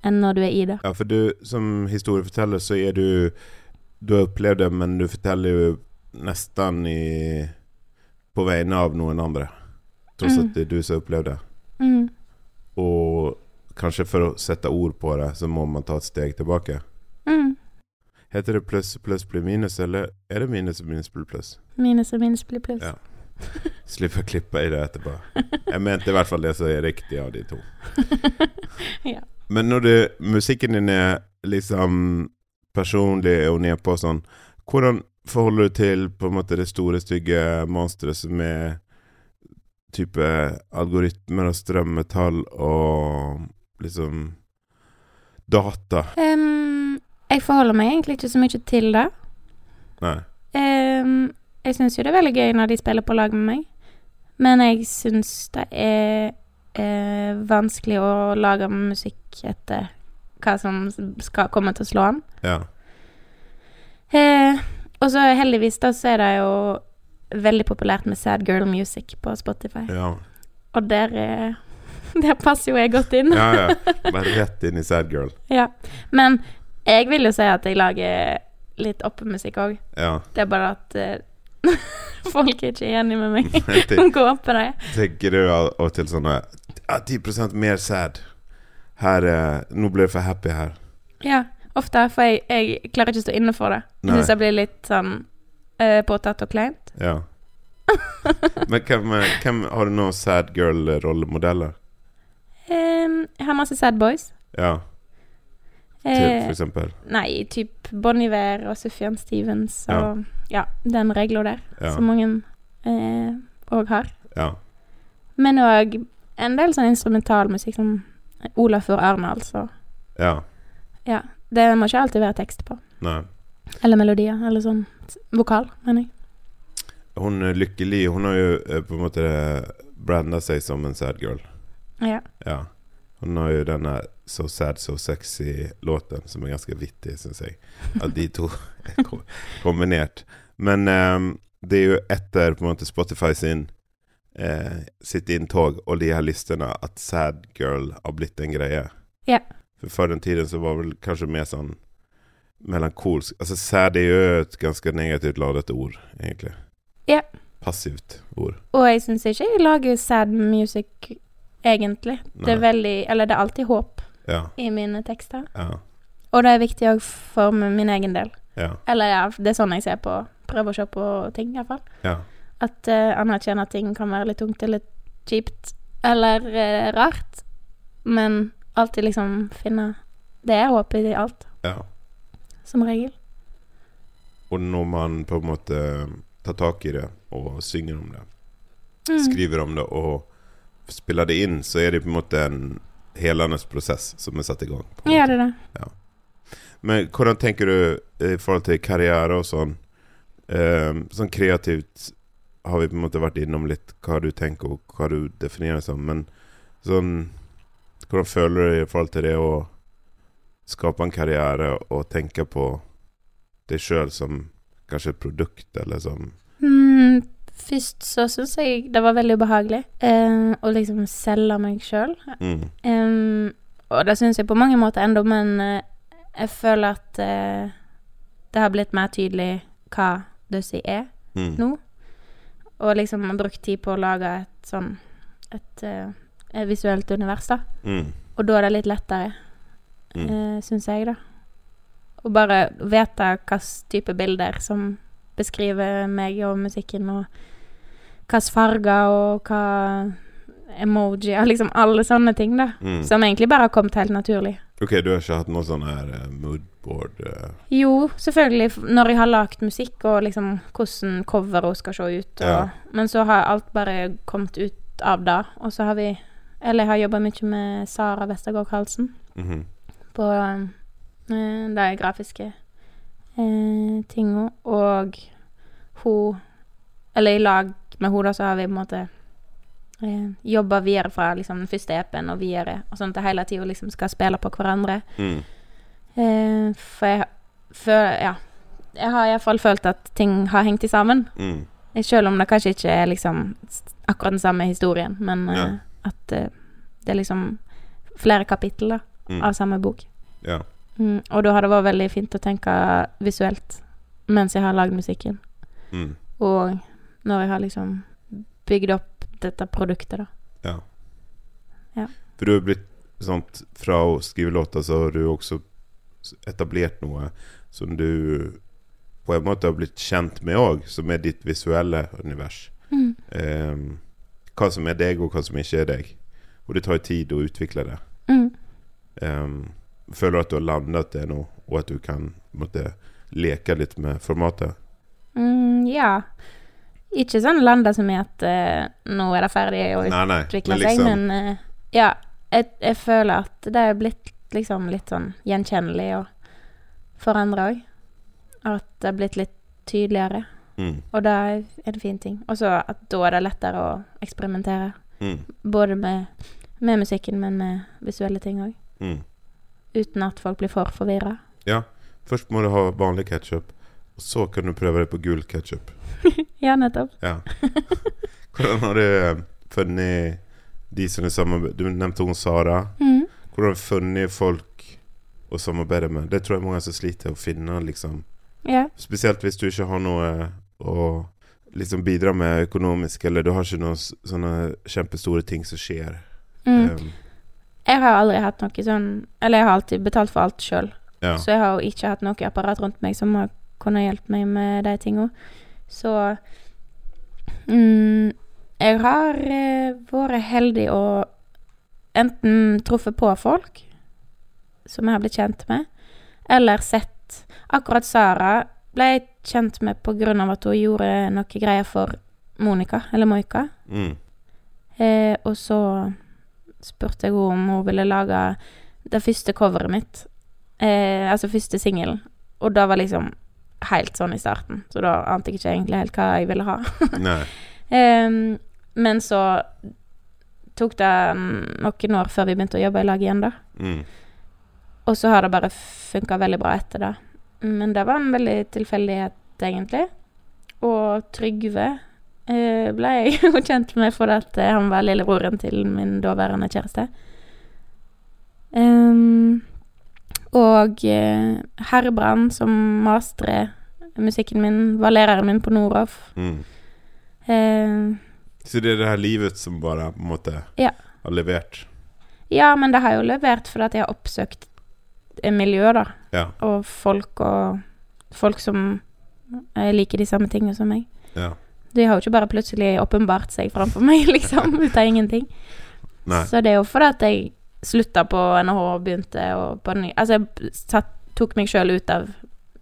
[SPEAKER 2] enn når du er i det.
[SPEAKER 1] Ja, for du som historieforteller så er du Du har opplevd det, men du forteller jo nesten i På vegne av noen andre. Tross
[SPEAKER 2] Mm.
[SPEAKER 1] at det er du som har opplevd det.
[SPEAKER 2] Mm.
[SPEAKER 1] Og kanskje for å sette ord på det, så må man ta et steg tilbake.
[SPEAKER 2] Mm.
[SPEAKER 1] Heter det pluss pluss blir minus, eller er det minus minus blir pluss?
[SPEAKER 2] Minus og minus blir pluss.
[SPEAKER 1] Ja. Slipper å klippe i det etterpå. Jeg mente i hvert fall det som er riktig av de to.
[SPEAKER 2] ja.
[SPEAKER 1] Men når du, musikken din er liksom personlig og nedpå og sånn, hvordan forholder du til på en måte det store, stygge monsteret som er type algoritmer og strømmetall og liksom data?
[SPEAKER 2] Ehm, jeg forholder meg egentlig ikke så mye til det.
[SPEAKER 1] Nei.
[SPEAKER 2] Ehm, jeg syns jo det er veldig gøy når de spiller på lag med meg, men jeg syns det er eh, vanskelig å lage musikk etter hva som skal komme til å slå an.
[SPEAKER 1] Ja.
[SPEAKER 2] Eh, og så heldigvis da så er det jo veldig populært med sad girl music på Spotify,
[SPEAKER 1] Ja,
[SPEAKER 2] og der, eh, der passer jo jeg godt inn.
[SPEAKER 1] ja. ja. Bare rett inn i sad girl.
[SPEAKER 2] Ja. Men jeg vil jo si at jeg lager litt oppemusikk òg.
[SPEAKER 1] Ja.
[SPEAKER 2] Det er bare at eh, folk er ikke enige med meg
[SPEAKER 1] Tenk-
[SPEAKER 2] om hvor oppe det er.
[SPEAKER 1] Tenker du av og til sånn eh, ja, 10 mer sad. Her eh, Nå blir det for happy her.
[SPEAKER 2] Ja, ofte. For jeg, jeg klarer ikke å stå inne for det. Jeg
[SPEAKER 1] Nei.
[SPEAKER 2] syns det blir litt sånn eh, påtatt og kleint.
[SPEAKER 1] Ja. Men hvem, eh, hvem Har du noen sad girl-rollemodeller?
[SPEAKER 2] Em, jeg har masse sad boys.
[SPEAKER 1] Ja, til,
[SPEAKER 2] Eh,
[SPEAKER 1] for eksempel.
[SPEAKER 2] nei, type Bon Iver og Sufjan Stevens og ja, den regla der,
[SPEAKER 1] Ja.
[SPEAKER 2] som mange òg har.
[SPEAKER 1] ja.
[SPEAKER 2] Men òg en del sånn instrumentalmusikk som Olafur Arne, altså.
[SPEAKER 1] ja.
[SPEAKER 2] Ja, det må ikke alltid være tekst på.
[SPEAKER 1] Nei.
[SPEAKER 2] Eller melodier, eller sånn s- vokal, mener jeg.
[SPEAKER 1] Hun eh, Lykke Li, hun har jo eh, på en måte branda seg som en sad girl.
[SPEAKER 2] Ja.
[SPEAKER 1] Ja. Hun har jo den der So Sad So Sexy-låten som er ganske vittig, syns jeg. At de to er ko- kombinert. Men ehm, det er jo etter på en måte Spotify sin eh, sitt inntog og de her listene at sad girl har blitt en greie.
[SPEAKER 2] Ja.
[SPEAKER 1] For før den tiden så var vel kanskje mer sånn melankolsk Altså sad er jo et ganske negativt ladet ord, egentlig.
[SPEAKER 2] Ja.
[SPEAKER 1] Passivt ord.
[SPEAKER 2] Og jeg syns ikke jeg lager sad music, egentlig. Det er
[SPEAKER 1] Nei.
[SPEAKER 2] veldig Eller det er alltid håp
[SPEAKER 1] Ja.
[SPEAKER 2] i mine tekster.
[SPEAKER 1] Ja.
[SPEAKER 2] Og det er viktig òg for min egen del.
[SPEAKER 1] Ja.
[SPEAKER 2] Eller ja, det er sånn jeg ser på Prøver å se på ting, iallfall.
[SPEAKER 1] Ja.
[SPEAKER 2] At uh, anerkjenne at ting kan være litt tungt eller kjipt eller eh, rart. Men alltid liksom finne Det er håp i alt,
[SPEAKER 1] ja.
[SPEAKER 2] som regel.
[SPEAKER 1] Og når man på en måte tar tak i det og synger om det,
[SPEAKER 2] Mm.
[SPEAKER 1] skriver om det og spiller det inn, så er det på en måte en helende prosess som er satt i gang. på en
[SPEAKER 2] Ja,
[SPEAKER 1] måte.
[SPEAKER 2] det er det.
[SPEAKER 1] Men hvordan tenker du eh, i forhold til karriere og sånn? Eh, sånn kreativt har vi på en måte vært innom litt hva du tenker og hva du definerer som, men sånn Hvordan føler du deg i forhold til det å skape en karriere og tenke på deg sjøl som kanskje et produkt, eller som
[SPEAKER 2] Mm, først så syns jeg det var veldig ubehagelig eh, å liksom selge meg sjøl.
[SPEAKER 1] mm.
[SPEAKER 2] Em, og det syns jeg på mange måter ennå, men eh, jeg føler at eh, det har blitt mer tydelig hva Dussie er,
[SPEAKER 1] Mm.
[SPEAKER 2] nå. og liksom har brukt tid på å lage et sånn et, eh, et visuelt univers, da.
[SPEAKER 1] Mm.
[SPEAKER 2] Og da er det litt lettere,
[SPEAKER 1] Mm.
[SPEAKER 2] eh, syns jeg, da. Å bare vite hvilke type bilder som beskriver meg og musikken, og hvilke farger og hva emojier, liksom alle sånne ting, da.
[SPEAKER 1] Mm.
[SPEAKER 2] Som egentlig bare har kommet helt naturlig.
[SPEAKER 1] Ok, du har ikke hatt noe sånn her eh, moodboard eh,
[SPEAKER 2] Jo, selvfølgelig, f- når jeg har lagd musikk, og liksom hvordan coveret skal se ut. Og,
[SPEAKER 1] Ja.
[SPEAKER 2] Men så har alt bare kommet ut av det. Og så har vi Eller jeg har jobba mye med Sara Westergård Karlsen
[SPEAKER 1] mhm.
[SPEAKER 2] på eh, de grafiske eh, tinga. Og hun Eller i lag med henne, da, så har vi på en måte eh, jobba videre fra liksom, den første EP-en og videre. Og sånn at det hele tida liksom skal spille på hverandre.
[SPEAKER 1] Mm.
[SPEAKER 2] Eh, for jeg føler Ja. Jeg har iallfall følt at ting har hengt i sammen.
[SPEAKER 1] Mm.
[SPEAKER 2] Selv om det kanskje ikke er liksom s- akkurat den samme historien, men eh,
[SPEAKER 1] Ja.
[SPEAKER 2] at eh, det er liksom flere kapittel da,
[SPEAKER 1] Mm.
[SPEAKER 2] av samme bok.
[SPEAKER 1] Ja.
[SPEAKER 2] Mm, og da har det vært veldig fint å tenke visuelt mens jeg har lagd musikken,
[SPEAKER 1] Mm.
[SPEAKER 2] og når jeg har liksom bygd opp dette produktet, da.
[SPEAKER 1] Ja.
[SPEAKER 2] Ja.
[SPEAKER 1] For du har blitt sånt, Fra å skrive låter så har du også etablert noe som du på en måte har blitt kjent med òg, som er ditt visuelle univers.
[SPEAKER 2] Mm.
[SPEAKER 1] Ehm, hva som er deg, og hva som ikke er deg. Og det tar jo tid å utvikle det.
[SPEAKER 2] Mm.
[SPEAKER 1] Ehm, føler du at du har landet det nå, og at du kan på en måte, leke litt med formatet?
[SPEAKER 2] Mm, ja. Ikke sånn landa som i at eh, nå er det ferdig, og
[SPEAKER 1] Nei, nei.
[SPEAKER 2] utvikla
[SPEAKER 1] Men
[SPEAKER 2] seg,
[SPEAKER 1] liksom
[SPEAKER 2] men eh, ja, jeg, jeg føler at det er blitt liksom litt sånn gjenkjennelig og forandra òg. At det er blitt litt tydeligere,
[SPEAKER 1] mm,
[SPEAKER 2] og det er en fin ting. Og så at da er det lettere å eksperimentere,
[SPEAKER 1] mm,
[SPEAKER 2] både med, med musikken, men med visuelle ting òg.
[SPEAKER 1] mm.
[SPEAKER 2] Uten at folk blir for forvirra.
[SPEAKER 1] Først må du ha vanlig ketsjup, og så kan du prøve det på gul ketsjup.
[SPEAKER 2] Ja, nettopp.
[SPEAKER 1] Ja. Hvordan har du eh, funnet de som du samarbeider Du nevnte hun Sara.
[SPEAKER 2] Mm.
[SPEAKER 1] Hvordan har du funnet folk å samarbeide med? Det tror jeg mange som sliter å finne, liksom.
[SPEAKER 2] Ja.
[SPEAKER 1] Spesielt hvis du ikke har noe å liksom bidra med økonomisk, eller du har ikke noen s- sånne kjempestore ting som skjer.
[SPEAKER 2] Mm.
[SPEAKER 1] Eh,
[SPEAKER 2] Jeg har aldri hatt noe sånn Eller jeg har alltid betalt for alt sjøl.
[SPEAKER 1] ja.
[SPEAKER 2] Så jeg har jo ikke hatt noe apparat rundt meg som har kunnet hjelpe meg med de tinga. Så mm, Jeg har eh, vært heldig og enten truffet på folk som jeg har blitt kjent med, eller sett Akkurat Sara ble jeg kjent med på grunn av at hun gjorde noe greier for Monica, eller Moika.
[SPEAKER 1] Mm.
[SPEAKER 2] Eh, og så spurte jeg henne om hun ville lage det første coveret mitt. Eh, altså første singelen. Og da var liksom helt sånn i starten, så da ante jeg ikke egentlig helt hva jeg ville ha.
[SPEAKER 1] Nei.
[SPEAKER 2] Em, men så tok det mm, noen år før vi begynte å jobbe i lag igjen, da.
[SPEAKER 1] Mm.
[SPEAKER 2] Og så har det bare funka veldig bra etter det. Men det var en veldig tilfeldighet, egentlig. Og Trygve eh, ble jeg jo kjent med fordi at eh, han var lillebroren til min daværende kjæreste. Ehm, og eh, Herbrand, som mastrer musikken min, var læreren min på Noroff.
[SPEAKER 1] Mm.
[SPEAKER 2] Eh,
[SPEAKER 1] Så det er det her livet som bare på en måte
[SPEAKER 2] Ja.
[SPEAKER 1] har levert.
[SPEAKER 2] ja, men det har jo levert fordi at jeg har oppsøkt eh, miljø, da.
[SPEAKER 1] Ja.
[SPEAKER 2] og folk og folk som eh, liker de samme tingene som meg.
[SPEAKER 1] ja.
[SPEAKER 2] De har jo ikke bare plutselig åpenbart seg framfor meg, liksom, ut av ingenting.
[SPEAKER 1] Nei.
[SPEAKER 2] Så det er jo fordi at jeg slutta på NHH og begynte å- på ny Altså, jeg b- satt, tok meg sjøl ut av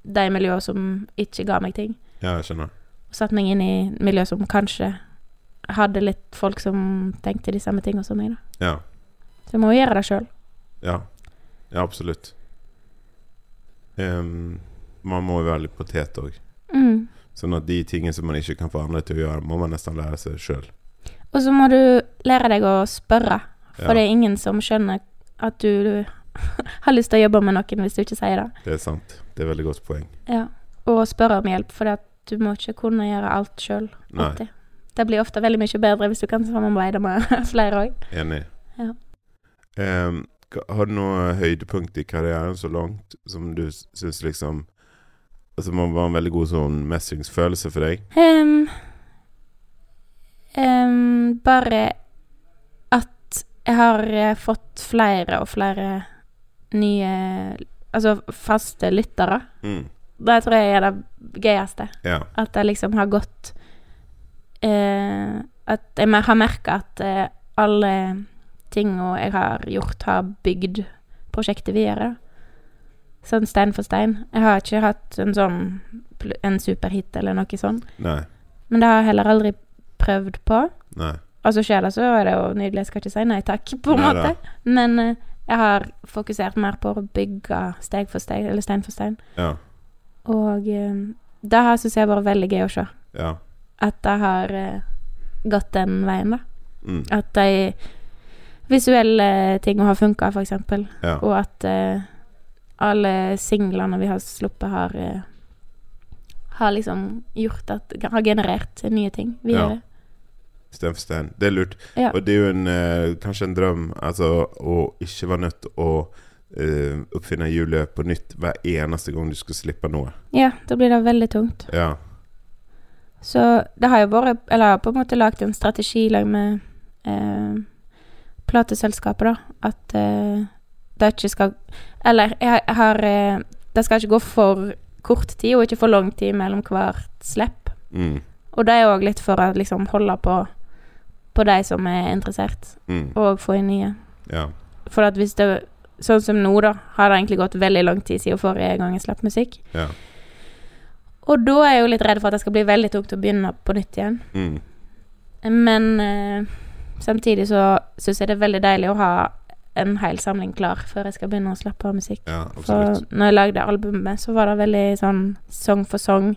[SPEAKER 2] de miljøene som ikke ga meg ting,
[SPEAKER 1] Ja, jeg skjønner.
[SPEAKER 2] og satte meg inn i miljø som kanskje hadde litt folk som tenkte de samme tingene som meg, da.
[SPEAKER 1] Ja.
[SPEAKER 2] Så jeg må jo gjøre det sjøl.
[SPEAKER 1] Ja, ja absolutt. Ehm, man må jo være litt potet òg.
[SPEAKER 2] Mm.
[SPEAKER 1] Sånn at de tingene som man ikke kan få andre til å gjøre, må man nesten lære seg sjøl.
[SPEAKER 2] Og så må du lære deg å spørre. For
[SPEAKER 1] Ja,
[SPEAKER 2] det er ingen som skjønner at du har lyst til å jobbe med noen hvis du ikke sier det.
[SPEAKER 1] det er sant. Det er et veldig godt poeng.
[SPEAKER 2] Ja. Og spørre om hjelp, for du må ikke kunne gjøre alt sjøl.
[SPEAKER 1] Nei,
[SPEAKER 2] Det blir ofte veldig mye bedre hvis du kan samarbeide med flere òg.
[SPEAKER 1] enig.
[SPEAKER 2] Ja.
[SPEAKER 1] Ehm, ka- har du noe høydepunkt i karrieren så langt som du s- syns liksom Altså må være en veldig god sånn mestringsfølelse for deg?
[SPEAKER 2] Ehm, ehm, bare at jeg har eh, fått flere og flere nye Altså faste lyttere.
[SPEAKER 1] Mm.
[SPEAKER 2] Det tror jeg er det gøyeste.
[SPEAKER 1] Ja.
[SPEAKER 2] At jeg liksom har gått eh, At jeg mer har merka at eh, alle tinga jeg har gjort, har bygd prosjektet videre. Sånn stein for stein. Jeg har ikke hatt en sånn pl- en superhit eller noe sånn.
[SPEAKER 1] Nei.
[SPEAKER 2] Men det har jeg heller aldri prøvd på.
[SPEAKER 1] Nei.
[SPEAKER 2] Og så skjer det, så er det jo nydelig. Jeg skal ikke si nei takk, på en
[SPEAKER 1] Nei da.
[SPEAKER 2] måte. Men eh, jeg har fokusert mer på å bygge steg for steg, eller stein for stein.
[SPEAKER 1] Ja.
[SPEAKER 2] Og eh, det har syns jeg vært veldig gøy å se.
[SPEAKER 1] Ja.
[SPEAKER 2] At det har eh, gått den veien, da.
[SPEAKER 1] Mm.
[SPEAKER 2] At de visuelle eh, tingene har funka, f.eks. eksempel
[SPEAKER 1] Ja.
[SPEAKER 2] Og at eh, alle singlene vi har sluppet, har eh, har liksom gjort at Har generert nye ting videre.
[SPEAKER 1] Stein for stein. Det er lurt.
[SPEAKER 2] Ja.
[SPEAKER 1] Og det er jo en, eh, kanskje en drøm altså, å ikke være nødt til å eh, oppfinne hjulet på nytt hver eneste gang du skal slippe noe.
[SPEAKER 2] Ja. da blir det veldig tungt.
[SPEAKER 1] Ja.
[SPEAKER 2] Så det har jo vært Eller jeg har på en måte lagd en strategi i lag med eh, plateselskapet, da. At eh, det ikke skal Eller jeg, jeg har eh, Det skal ikke gå for kort tid, og ikke for lang tid mellom hvert slipp.
[SPEAKER 1] Mm.
[SPEAKER 2] Og det er òg litt for å liksom holde på på de som er interessert,
[SPEAKER 1] Mm.
[SPEAKER 2] og få inn nye.
[SPEAKER 1] Ja.
[SPEAKER 2] For at hvis det Sånn som nå, da, har det egentlig gått veldig lang tid siden forrige gang jeg slapp musikk.
[SPEAKER 1] Ja.
[SPEAKER 2] Og da er jeg jo litt redd for at det skal bli veldig tungt å begynne på nytt igjen.
[SPEAKER 1] Mm.
[SPEAKER 2] Men eh, samtidig så syns jeg det er veldig deilig å ha en hel samling klar før jeg skal begynne å slappe av musikk.
[SPEAKER 1] ja
[SPEAKER 2] For
[SPEAKER 1] absolutt.
[SPEAKER 2] når jeg lagde albumet, så var det veldig sånn song for song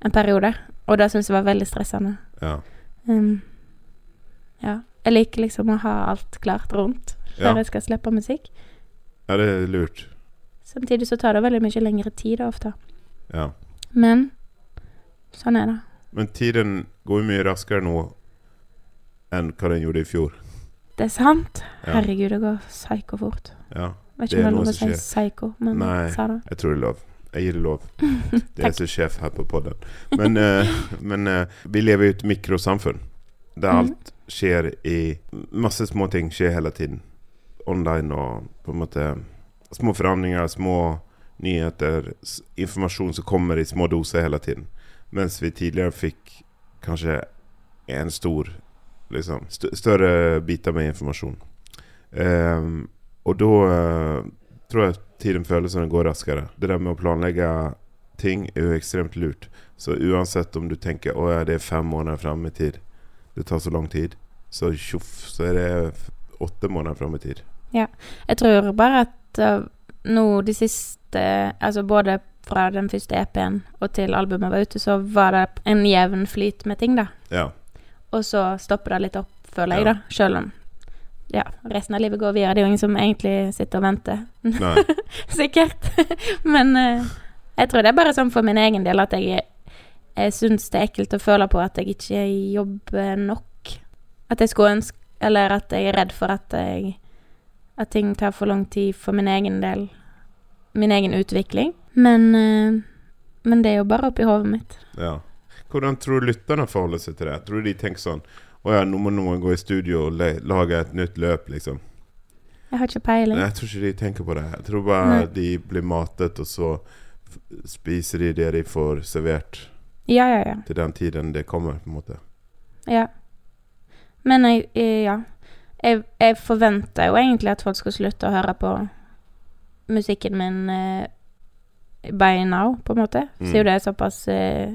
[SPEAKER 2] en periode, og det syns jeg var veldig stressende.
[SPEAKER 1] Ja.
[SPEAKER 2] Um, ja. Jeg liker liksom å ha alt klart rundt før
[SPEAKER 1] Ja.
[SPEAKER 2] jeg skal slippe musikk.
[SPEAKER 1] ja, det er lurt.
[SPEAKER 2] Samtidig så tar det veldig mye lengre tid da, ofte.
[SPEAKER 1] Ja.
[SPEAKER 2] Men sånn er det.
[SPEAKER 1] Men tiden går jo mye raskere nå enn hva den gjorde i fjor.
[SPEAKER 2] Det er sant.
[SPEAKER 1] Ja.
[SPEAKER 2] Herregud, det går psyko fort.
[SPEAKER 1] Ja.
[SPEAKER 2] Vet
[SPEAKER 1] Det er
[SPEAKER 2] ikke om det er
[SPEAKER 1] noe
[SPEAKER 2] lov å
[SPEAKER 1] som
[SPEAKER 2] si psyko, men
[SPEAKER 1] Nei.
[SPEAKER 2] jeg sa det.
[SPEAKER 1] Jeg tror det er lov. Jeg gir det lov. Det er
[SPEAKER 2] Takk.
[SPEAKER 1] som sjef her på podden. Men, eh, men eh, vi lever i et mikrosamfunn der
[SPEAKER 2] Mhm.
[SPEAKER 1] alt skjer i Masse små ting skjer hele tiden. Online og på en måte Små forandringer, små nyheter, s- informasjon som kommer i små doser hele tiden. Mens vi tidligere fikk kanskje en stor liksom, st Større biter med informasjon. Ehm, og da eh, tror jeg tiden føles som den går raskere. Det der med å planlegge ting er jo ekstremt lurt. Så uansett om du tenker å ja, det er fem måneder fram i tid, det tar så lang tid, så tjoff, så er det f- åtte måneder fram i tid.
[SPEAKER 2] Jeg tror bare at uh, nå de siste Altså både fra den første EP-en og til albumet var ute, så var det en jevn flyt med ting, da.
[SPEAKER 1] Ja.
[SPEAKER 2] Og så stopper det litt opp, føler jeg,
[SPEAKER 1] Ja.
[SPEAKER 2] da. Selv om ja, resten av livet går videre. Det er jo ingen som egentlig sitter og venter,
[SPEAKER 1] Nei.
[SPEAKER 2] sikkert. Men eh, jeg tror det er bare sånn for min egen del at jeg, jeg syns det er ekkelt å føle på at jeg ikke jobber nok. At jeg skulle ønske Eller at jeg er redd for at jeg At ting tar for lang tid for min egen del. Min egen utvikling. Men eh, men det er jo bare oppi hodet mitt.
[SPEAKER 1] Ja. Hvordan tror du lytterne forholder seg til det? Tror du de tenker sånn Å ja, nå må noen gå i studio og le- lage et nytt løp, liksom.
[SPEAKER 2] Jeg har ikke peiling.
[SPEAKER 1] Nei, jeg tror ikke de tenker på det. Jeg tror bare
[SPEAKER 2] Nei.
[SPEAKER 1] de blir matet, og så f- spiser de det de får servert
[SPEAKER 2] Ja, ja, ja.
[SPEAKER 1] til den tiden det kommer, på en måte.
[SPEAKER 2] Ja. Men jeg, jeg ja. Jeg, jeg forventa jo egentlig at folk skulle slutte å høre på musikken min eh, by now, på en måte.
[SPEAKER 1] Mm.
[SPEAKER 2] Siden det er såpass eh,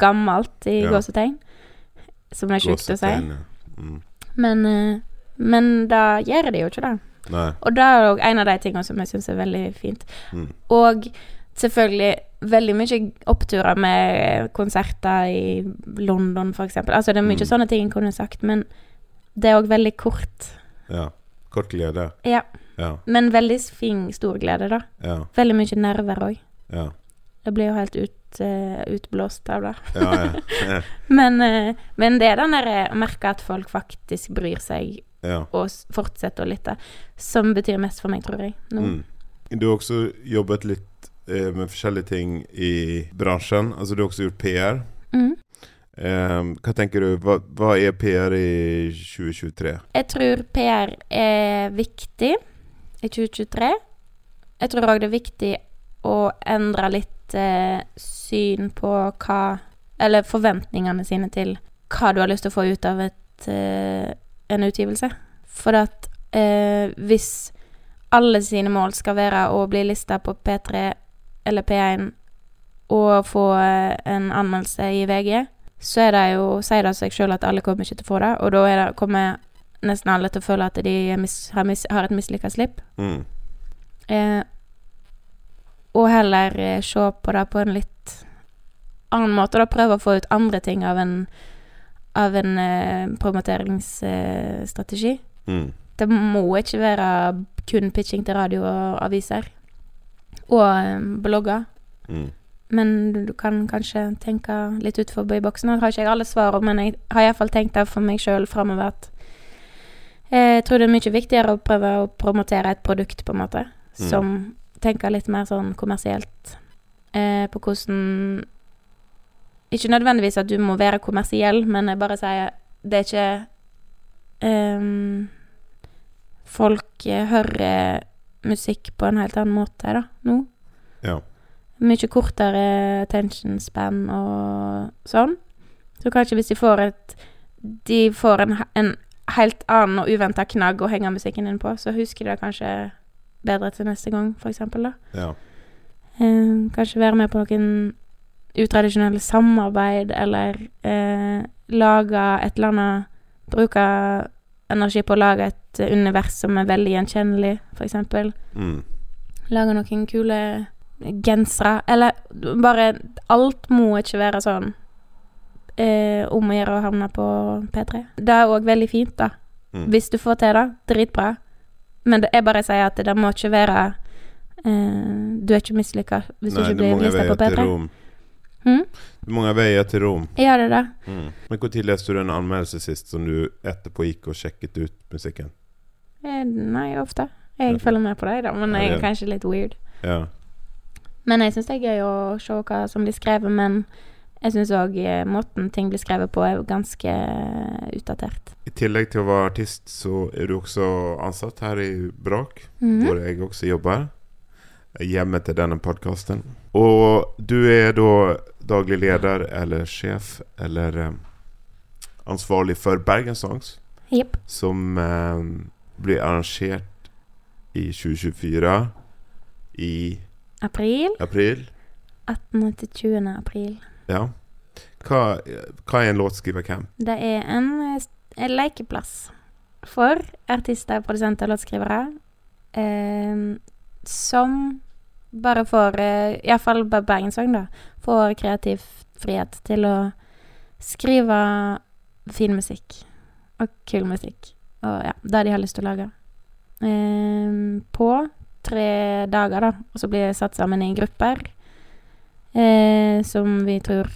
[SPEAKER 2] gammelt i
[SPEAKER 1] Ja.
[SPEAKER 2] gåsetegn. Som det er sjukt å si.
[SPEAKER 1] Gåsetegn, ja. Mm.
[SPEAKER 2] Men, eh, men da gjør det jo ikke det.
[SPEAKER 1] Nei.
[SPEAKER 2] Og det er jo en av de tingene som jeg syns er veldig fint.
[SPEAKER 1] Mm.
[SPEAKER 2] Og selvfølgelig veldig mye oppturer med konserter i London, f.eks. Altså, det er mye
[SPEAKER 1] Mm.
[SPEAKER 2] sånne ting en kunne sagt, men det er òg veldig kort.
[SPEAKER 1] Ja. Kort glede.
[SPEAKER 2] Ja,
[SPEAKER 1] Ja.
[SPEAKER 2] men veldig fin, stor glede, da.
[SPEAKER 1] Ja.
[SPEAKER 2] Veldig mye nerver òg.
[SPEAKER 1] Ja.
[SPEAKER 2] Jeg blir jo helt ut, eh, utblåst av det.
[SPEAKER 1] Ja. Ja.
[SPEAKER 2] Men, eh, men det er den derre å merke at folk faktisk bryr seg
[SPEAKER 1] ja.
[SPEAKER 2] og s- fortsetter å lytte, som betyr mest for meg, tror jeg. Nå.
[SPEAKER 1] Mm. Du har også jobbet litt eh, med forskjellige ting i bransjen. Altså, du har også gjort PR.
[SPEAKER 2] Mm.
[SPEAKER 1] Eh, hva tenker du, hva, hva er PR i 2023?
[SPEAKER 2] Jeg tror PR er viktig i 2023. Jeg tror òg det er viktig å endre litt eh, syn på hva Eller forventningene sine til hva du har lyst til å få ut av et eh, en utgivelse. For at eh, hvis alle sine mål skal være å bli lista på P3 eller P1 og få eh, en anmeldelse i VG, så er det jo, sier det seg sjøl at alle kommer ikke til å få det. Og da er det, kommer nesten alle til å føle at de er mis, har, mis, har et mislykka slipp.
[SPEAKER 1] Mm.
[SPEAKER 2] Eh, og heller eh, se på det på en litt annen måte. Da prøve å få ut andre ting av en, av en eh, promoteringsstrategi. Eh, strategi.
[SPEAKER 1] Mm.
[SPEAKER 2] det må ikke være kun pitching til radio og aviser og eh, blogger.
[SPEAKER 1] Mm.
[SPEAKER 2] Men du- du kan kanskje tenke litt utenfor boksen. Nå har ikke jeg alle svar, men jeg har iallfall tenkt det for meg sjøl framover at eh, jeg tror det er mye viktigere å prøve å promotere et produkt, på en måte,
[SPEAKER 1] Mm.
[SPEAKER 2] som tenker litt mer sånn kommersielt eh, på hvordan Ikke nødvendigvis at du må være kommersiell, men jeg bare sier det er ikke ehm, Folk eh, hører musikk på en helt annen måte da, nå
[SPEAKER 1] Ja.
[SPEAKER 2] mye kortere attention span og sånn. Så kanskje hvis de får et De får en, he- en helt annen og uventa knagg å henge musikken inn på, så husker de det kanskje bedre til neste gang, for eksempel, da.
[SPEAKER 1] Ja.
[SPEAKER 2] Eh, kanskje være med på noen utradisjonelle samarbeid, eller eh, lage et eller annet Bruke energi på å lage et univers som er veldig gjenkjennelig, for eksempel
[SPEAKER 1] Mm.
[SPEAKER 2] lage noen kule gensere, eller bare Alt må ikke være sånn eh, om å gjøre å havne på P3. Det er òg veldig fint, da.
[SPEAKER 1] Mm.
[SPEAKER 2] Hvis du får til det, dritbra. Men det er bare å si at det må ikke være eh, Du er ikke mislykka hvis du
[SPEAKER 1] Nei,
[SPEAKER 2] ikke
[SPEAKER 1] det er
[SPEAKER 2] blir
[SPEAKER 1] mange
[SPEAKER 2] lista
[SPEAKER 1] veier
[SPEAKER 2] på
[SPEAKER 1] til
[SPEAKER 2] P3.
[SPEAKER 1] Rom.
[SPEAKER 2] Hm?
[SPEAKER 1] Det er mange veier til Rom.
[SPEAKER 2] Ja, det er det.
[SPEAKER 1] Mm. Men Når leste du den anmeldelsen sist, som du etterpå gikk og sjekket ut musikken?
[SPEAKER 2] Eh, Nei, ofte. Jeg
[SPEAKER 1] Ja.
[SPEAKER 2] følger med på deg, da, men
[SPEAKER 1] Ja,
[SPEAKER 2] jeg
[SPEAKER 1] det
[SPEAKER 2] er
[SPEAKER 1] er-
[SPEAKER 2] kanskje litt weird.
[SPEAKER 1] Ja.
[SPEAKER 2] Men jeg syns det er gøy å se hva som blir skrevet, men jeg syns òg måten ting blir skrevet på, er jo ganske eh, utdatert.
[SPEAKER 1] I tillegg til å være artist, så er du også ansatt her i Brak,
[SPEAKER 2] Mm.
[SPEAKER 1] hvor jeg også jobber. Hjemmet til denne podkasten. Og du er da daglig leder eller sjef eller eh, ansvarlig for Bergen Songs,
[SPEAKER 2] Jepp.
[SPEAKER 1] som eh, blir arrangert i 2024 i
[SPEAKER 2] April.
[SPEAKER 1] april.
[SPEAKER 2] 18. til 20. april.
[SPEAKER 1] Ja. Hva, hva er en låtskrivercamp?
[SPEAKER 2] Det er en, eh, s- en lekeplass for artister, produsenter og låtskrivere eh, som bare får eh, Iallfall på Bergenssang, da. Får kreativ frihet til å skrive fin musikk. Og kul musikk. Og ja, det de har lyst til å lage. Eh, på tre dager, da. Og så blir det satt sammen i grupper eh, som vi tror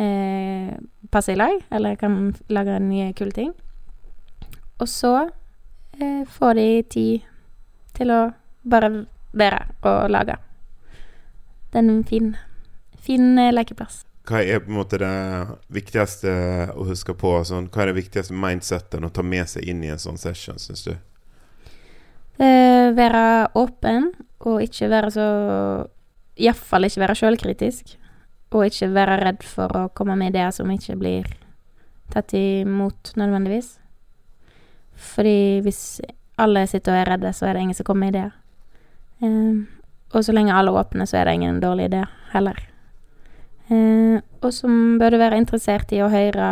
[SPEAKER 2] eh, passe i lag, eller kan lage nye kule ting. Og så eh, får de tid til å bare være og lage. Det er en fin, fin eh, lekeplass.
[SPEAKER 1] Hva er på en måte det viktigste å huske på? Sånn, hva er det viktigste mindseten å ta med seg inn i en sånn session, syns du?
[SPEAKER 2] Eh, være åpen, og ikke være så Iallfall ikke være sjølkritisk. Og ikke være redd for å komme med ideer som ikke blir tatt imot nødvendigvis. Fordi hvis alle sitter og er redde, så er det ingen som kommer med ideer. Eh, og så lenge alle er åpne, så er det ingen dårlige ideer heller. Eh, og så bør du være interessert i å høre